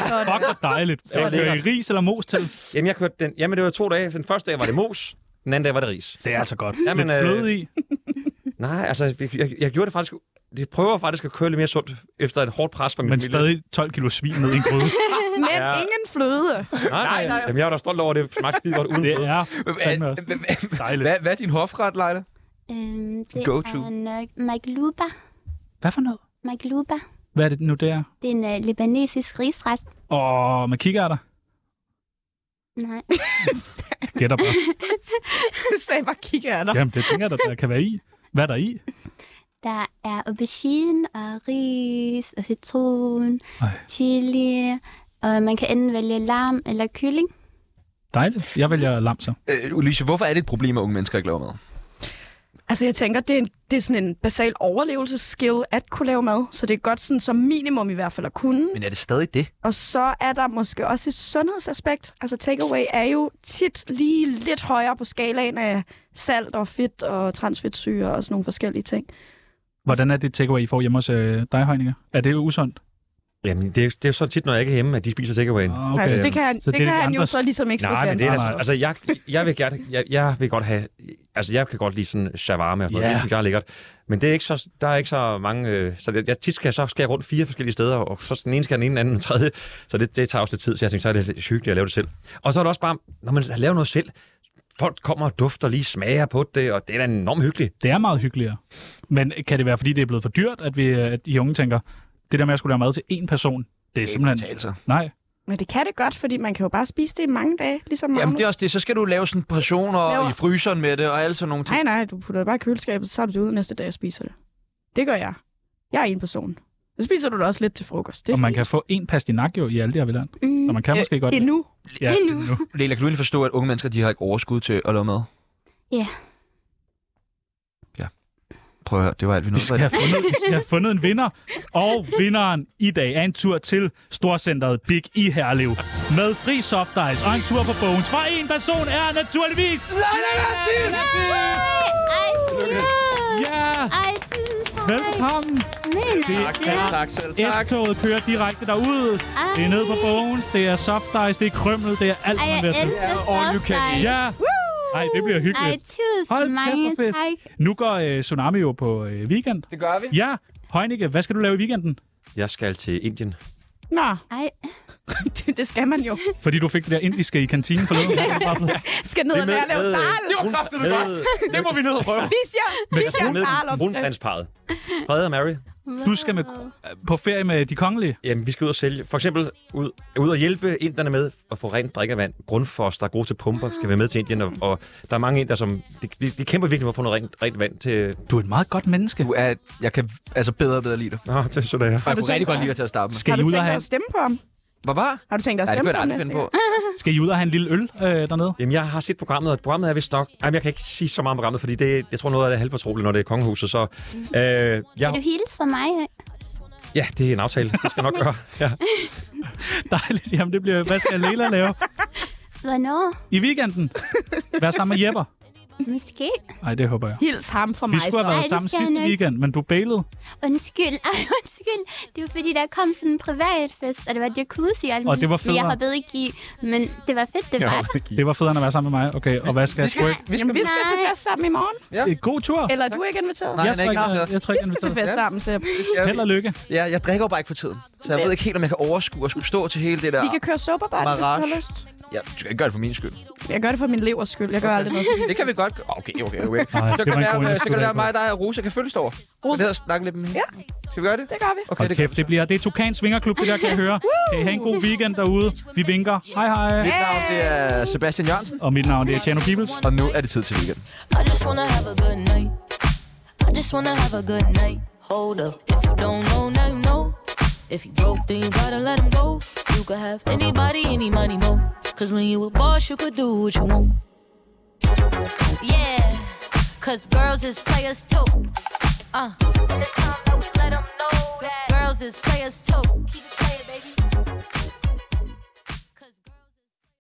B: hvor dejligt.
C: er
B: Så
C: det
B: det
C: lækkert.
B: ris eller mos til.
C: Jamen, jeg kørte den... Jamen, det var to dage. Den første dag var det mos, den anden dag var det ris.
B: Det er altså godt.
C: Ja, men,
B: Lidt blød
C: øh,
B: i.
C: Nej, altså, jeg, jeg, jeg gjorde det faktisk... Jeg prøver faktisk at køre lidt mere sundt efter et hårdt pres fra min
B: Men
C: familie.
B: stadig 12 kilo svin ned i en gryde.
E: Men
C: Ja.
E: ingen fløde.
C: Nej, nej, nej. Jamen, jeg var da stolt over at det. Smagte skide godt uden
B: Det
C: bløde.
B: er fandme også dejligt.
A: Hvad, hvad er din hofret, Leila?
D: Øhm, det
A: Go-to.
D: er nok magluba.
B: Hvad for noget?
D: Magluba.
B: Hvad er det nu, der?
D: Det er en uh, libanesisk risret.
B: Åh, man kigger der.
D: Nej.
B: Gætter bare.
E: Du sagde bare, kigger jeg dig.
B: Jamen, det tænker jeg, da, der kan være i. Hvad er der i?
D: Der er aubergine og ris og citron,
B: Ej.
D: chili, og man kan enten vælge lam eller kylling.
B: Dejligt. Jeg vælger lam så.
A: Øh, Ulysses, hvorfor er det et problem, at unge mennesker ikke laver mad?
E: Altså, jeg tænker, det er, en, det er sådan en basal overlevelsesskill at kunne lave mad. Så det er godt sådan som minimum i hvert fald at kunne.
A: Men er det stadig det?
E: Og så er der måske også et sundhedsaspekt. Altså, takeaway er jo tit lige lidt højere på skalaen af salt og fedt og transfedtsyre og sådan nogle forskellige ting.
B: Hvordan er det takeaway, I får hjemme hos øh, dig, Højninger? Er det jo usundt?
C: Jamen, det, er- det er jo så tit, når jeg ikke er hjemme, at de spiser takeawayen.
B: Ah,
E: Okay. Altså, det kan, han-
B: Så
E: det
B: er
E: kan han jo
B: andres-
E: så ligesom ikke stå
C: Nej, men det
E: til
C: er
B: Nej,
E: ansvar
B: nej.
C: altså, altså jeg, jeg vil gerne, jeg, jeg vil godt have, altså jeg kan godt lide sådan shawarma og sådan yeah.
B: Ja.
C: noget, det synes jeg er lækkert. Men det er ikke så, der er ikke så mange, øh, så det, jeg tit skal jeg så skal jeg rundt fire forskellige steder, og så den ene skal den ene, den anden, den tredje, så det, det tager også lidt tid, så jeg tænkte, så er det lidt hyggeligt at lave det selv. Og så er det også bare, når man laver noget selv, folk kommer og dufter lige, smager på det, og det er da enormt hyggeligt.
B: Det er meget hyggeligere. Men kan det være, fordi det er blevet for dyrt, at, vi, øh, at de unge tænker, det der med at skulle lave mad til én person, det er simpelthen...
A: betale sig.
B: Nej,
E: Men det kan det godt, fordi man kan jo bare spise det i mange dage, ligesom
A: Jamen,
E: Magnus.
A: det er også det. Så skal du lave sådan portioner
E: Laver-
A: i fryseren med det, og alle sådan nogle ting.
E: Nej, nej, du putter det bare i køleskabet, så tager du det ud næste dag og spiser det. Det gør jeg. Jeg er en person. Så spiser du det også lidt til frokost. Det er
B: og man
E: fint.
B: kan få en pastinak jo i alt det, jeg vil have.
D: Mm.
B: Så man kan
E: Øh,
B: måske godt...
E: Endnu.
B: Ja,
D: endnu.
B: endnu.
A: Leila, kan du egentlig forstå, at unge mennesker, de har ikke overskud til at lave mad?
D: Ja.
A: Ja. Prøv at høre, det var alt, vi
B: Vi
A: nåede. for
B: skal,
A: i dag.
B: have fundet, vi skal have fundet en vinder, og vinderen i dag er en tur til Storcenteret Big i Herlev med fri soft ice og en tur på bogen fra en person er naturligvis...
A: Leila Larsen!
D: Ej, ja.
B: Ja!
D: Ej, tusind tak.
B: Velkommen!
D: Men,
B: Tak,
D: ja.
A: Tak selv.
B: S-toget kører direkte derud.
D: Ej.
B: Det er ned på bogens, det er soft ice, det er krymmel, det er alt,
D: Ej,
B: man
D: jeg
B: vil have.
D: elsker
A: all you
D: soft
A: can
D: ice.
B: Ja! Ej, det bliver
D: Ej,
B: hyggeligt.
D: tusind
B: Hold kæft, hvor
D: mange
B: fedt.
D: tak.
B: Nu går øh, Tsunami jo på øh, weekend.
A: Det gør vi.
B: Ja, Heunicke, hvad skal du lave i weekenden?
C: Jeg skal til Indien.
E: Nå,
D: Ej,
E: det, det skal man jo.
B: Fordi du fik det der indiske i kantinen forleden.
E: Skal ned og lære at lave dal.
A: Det var kraftigt godt. Det må vi ned og prøve.
E: Vi siger, vi siger
C: med
E: dal op.
C: rundbandsparet. Frede og Mary,
B: Du skal med, øh, på ferie med de kongelige.
C: jamen, vi skal ud og sælge. For eksempel ud, ud og hjælpe inderne med at få rent drikkevand. Grundfos, der er gode til pumper, skal være med til Indien. Og, og der er mange indere, som de, de, de kæmper virkelig for at få noget rent, rent vand til...
B: Du er et meget godt menneske.
A: Du er, jeg kan altså bedre og bedre lide dig.
C: Nå, til sådan her.
A: Og jeg kunne rigtig godt lide dig til at starte med.
E: Har
B: Skal I
E: du
B: ud og
E: tænkt dig
B: have,
E: at stemme på ham?
A: Hvad var?
E: Har du tænkt dig at
A: Ja, det kunne
E: stemme på
A: jeg
E: ham
A: aldrig
E: næste
A: finde på.
E: gang?
B: skal I ud og have en lille øl øh, dernede?
C: Jamen, jeg har set programmet, og programmet er vist nok... Jamen, jeg kan ikke sige så meget om programmet, fordi det, jeg tror, noget af det er halvfortroligt, når det er kongehuset. Så, øh,
D: vil
C: jeg,
D: du hilse for mig?
C: ja, det er en aftale. Det skal jeg nok gøre. Ja.
B: Dejligt. Jamen, det bliver... Hvad skal Leila lave
D: Hvornår?
B: i weekenden? Vær sammen med Jepper.
D: Måske.
B: Nej, det håber jeg.
E: Hils ham for
B: Vi
E: mig.
B: skulle have
E: så.
D: Ej,
B: været
D: det
B: sammen
D: skal jeg
B: sidste
D: nok.
B: weekend, men du bailede.
D: Undskyld, ej, undskyld. Det var fordi, der kom sådan en privat fest, og det var jacuzzi og alt
B: Og det var
D: muligt. Men Jeg
B: federe.
D: hoppede ikke i, men det var fedt, det var. det.
B: Det var federe end at være sammen med mig. Okay, og hvad skal jeg sgu ikke?
E: Jamen, vi skal til
D: Nej.
E: fest sammen i morgen.
B: Øh, God tur.
E: Eller er du ikke inviteret?
B: jeg, tror ikke, jeg, jeg tror
E: Vi
B: ikke,
E: skal til
B: jeg
E: fest sammen, Sepp.
B: er Held og lykke.
A: Jeg, jeg drikker jo bare ikke for tiden, så jeg ved ikke helt, om jeg kan overskue at skulle stå til hele det der.
E: Vi kan køre soberbar, hvis du har
A: Mirage.
E: lyst.
A: Jeg du skal ikke gøre det for min skyld.
E: Jeg gør det for min levers skyld. Jeg gør aldrig noget.
A: Det kan vi godt gøre. Okay, okay, okay.
B: Nej,
A: Så
B: det
A: kan,
B: var en
A: være, øh, så
B: god idé,
A: kan det
B: skulle
A: være mig, dig og Rosa kan følges over. Rosa. Det hedder snakke lidt med hende.
E: Ja.
A: Skal vi gøre det?
E: Det gør vi.
A: Okay,
B: Hold
A: det gør vi.
B: kæft, det bliver... Det er Tukan Svingerklub, det der, kan jeg høre. Kan I have en god weekend derude? Vi vinker. Hej, hej.
A: Mit navn det er Sebastian Jørgensen,
B: Og mit navn det er Tjerno Peoples.
A: og nu er det tid til weekend.
I: I just wanna have a good night. I just wanna have a good night. Hold up, if you don't know, now you know. If you broke, then you gotta let him go. You could have anybody, any money, mo. Cause when you a boss, you could do what you want. Yeah, cause girls is players too. Uh, and it's time that we let 'em know that girls is players too. Keep it playing, baby.